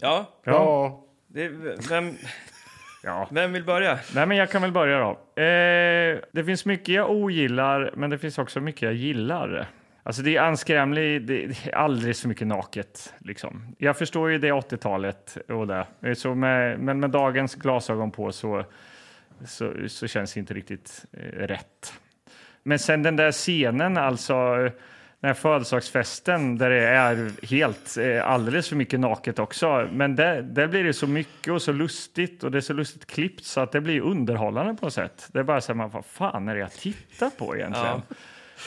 S2: Ja,
S3: Ja.
S2: det, vem,
S1: Ja.
S2: vem vill börja?
S1: Nej, men jag kan väl börja då. Eh, det finns mycket jag ogillar, men det finns också mycket jag gillar. Alltså det är anskrämlig, det det är alldeles för mycket naket. Liksom. Jag förstår ju det 80-talet och det. Eh, Så med, men med dagens glasögon på så, så, så känns det inte riktigt eh, rätt. Men sen den där scenen, alltså eh, den här födelsedagsfesten där det är helt eh, alldeles för mycket naket också. Men där, där blir det så mycket och så lustigt och det är så lustigt klippt så att det blir underhållande på något sätt. Det är bara så här, man, vad fan är det jag tittar på egentligen?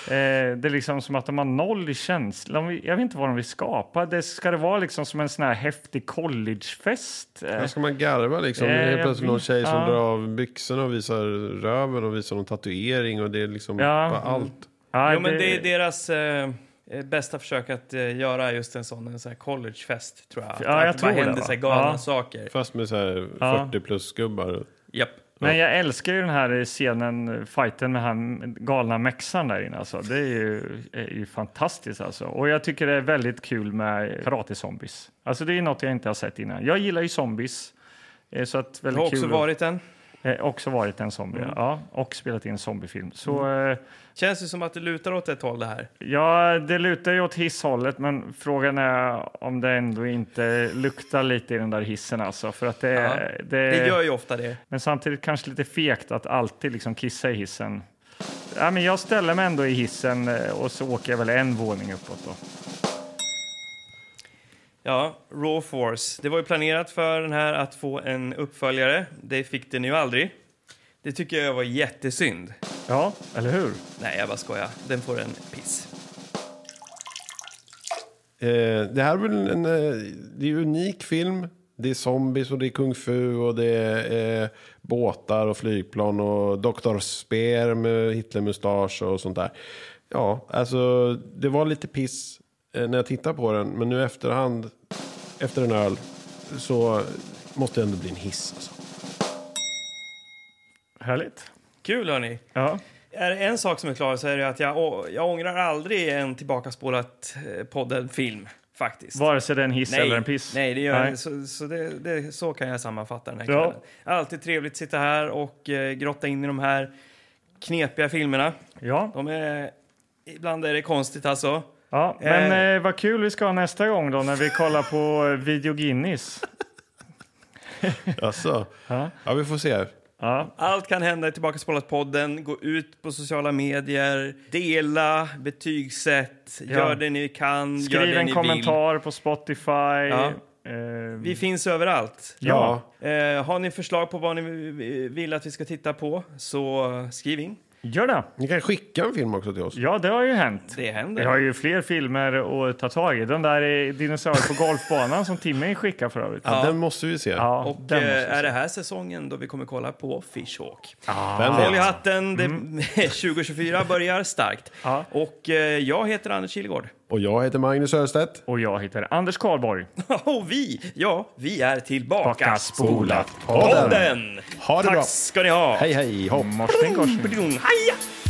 S1: Eh, det är liksom som att de har noll i känsla. De vill- Jag vet inte vad de vill skapa. Det ska det vara liksom som en sån här häftig collegefest? Eh,
S3: Här ska man garva liksom. Det
S1: Eh,
S3: är
S1: jag
S3: plötsligt någon
S1: vet-
S3: tjej som
S1: ja.
S3: drar av byxorna och visar röven och visar någon tatuering och det är liksom
S1: Ja.
S3: bara allt.
S1: ja,
S2: Jo, men det är deras eh, eh, bästa försök att eh, göra just en sån, en sån här collegefest tror jag. Att,
S1: Ja, jag
S2: att det bara
S1: tror det,
S2: händer
S1: va?
S2: sig galna
S1: Ja.
S2: saker.
S3: Fast med så här 40 plus gubbar.
S2: Japp.
S1: Men jag älskar ju den här scenen, fighten med han galna mexan där inne. Alltså. Det är ju, är ju fantastiskt alltså. Och jag tycker det är väldigt kul med karate-zombies. Alltså det är något jag inte har sett innan. Jag gillar ju zombies. eh, Så att
S2: Jag
S1: väldigt
S2: har också
S1: kul
S2: varit Mm. en.
S1: att, eh, också varit en zombie, ja. Och spelat in zombiefilm. Så
S2: Mm.
S1: eh,
S2: Känns det som att det lutar åt ett håll det här?
S1: ja, det lutar ju åt hisshållet. Men frågan är om det ändå inte luktar lite i den där hissen alltså. För att det, är-
S2: Ja. Det gör ju ofta det.
S1: Men samtidigt kanske lite fegt att alltid liksom kissa i hissen. Ja, men jag ställer mig ändå i hissen eh, och så åker jag väl en våning uppåt. Då.
S2: Ja, Raw Force. Det var ju planerat för den här att få en uppföljare. Det fick den ju aldrig. Det tycker jag var jättesynd.
S1: Ja, eller hur?
S2: Nej, jag bara skojar. Den får en piss.
S3: Eh, det här är väl en eh, det är en unik film. Det är zombies och det är kung fu och det är eh, båtar och flygplan och Dr. Speer med Hitlermustasch och sånt där. Ja, alltså det var lite piss eh, när jag tittade på den. Men nu efterhand, efter en öl, så måste det ändå bli en hiss. Alltså.
S1: Härligt.
S2: Kul, hörni.
S1: Ja.
S2: Är det en sak som är klar så är det att jag, å- jag ångrar aldrig en tillbakaspolat eh, podden film, faktiskt.
S1: Vare sig det är en hiss eller en piss.
S2: nej, det gör
S1: Nej.
S2: jag så, så, det, det, så kan jag sammanfatta den här
S1: Ja.
S2: kvällen. Alltid trevligt att sitta här och eh, grotta in i de här knepiga filmerna.
S1: Ja.
S2: De är, ibland är det konstigt alltså.
S1: Ja. Men eh, vad kul vi ska ha nästa gång då när vi kollar på eh, Video Guinness.
S3: Alltså, ja, vi får se.
S2: Allt kan hända i Tillbaka podden. Gå ut på sociala medier, dela, betygsätt, gör det ni kan, gör
S1: Skriv
S2: det
S1: en
S2: ni vill.
S1: kommentar på Spotify.
S2: Ja.
S1: Eh,
S2: Vi finns överallt.
S1: ja.
S2: Eh, har ni förslag på vad ni vill att vi ska titta på så skriv in.
S1: Gör det.
S3: Ni kan skicka en film också till oss.
S1: Ja, det har ju hänt.
S2: Det händer.
S1: Vi har ju fler filmer att ta tag i. Den där eh, dinosaurier på golfbanan som Timmy skickar för övrigt.
S3: Ja, Den måste vi se.
S1: Ja,
S2: Och
S1: den måste vi
S2: eh,
S1: se.
S2: är det här säsongen då vi kommer kolla på Fishhawk.
S3: Vem vet?
S2: Håll i hatten, det, 2024 börjar starkt.
S1: Mm. Ja.
S2: Och eh, jag heter Anders Kilegård.
S3: Och jag heter Magnus Örstedt.
S1: Och jag heter Anders Karlborg.
S2: Och vi, ja, vi är tillbaka.
S1: Baka spolat
S2: Podden!
S3: Ha det
S2: Tack
S3: bra.
S2: ska ni ha.
S3: Hej, hej. Hopp.
S1: Morsning korsning.
S2: Hej.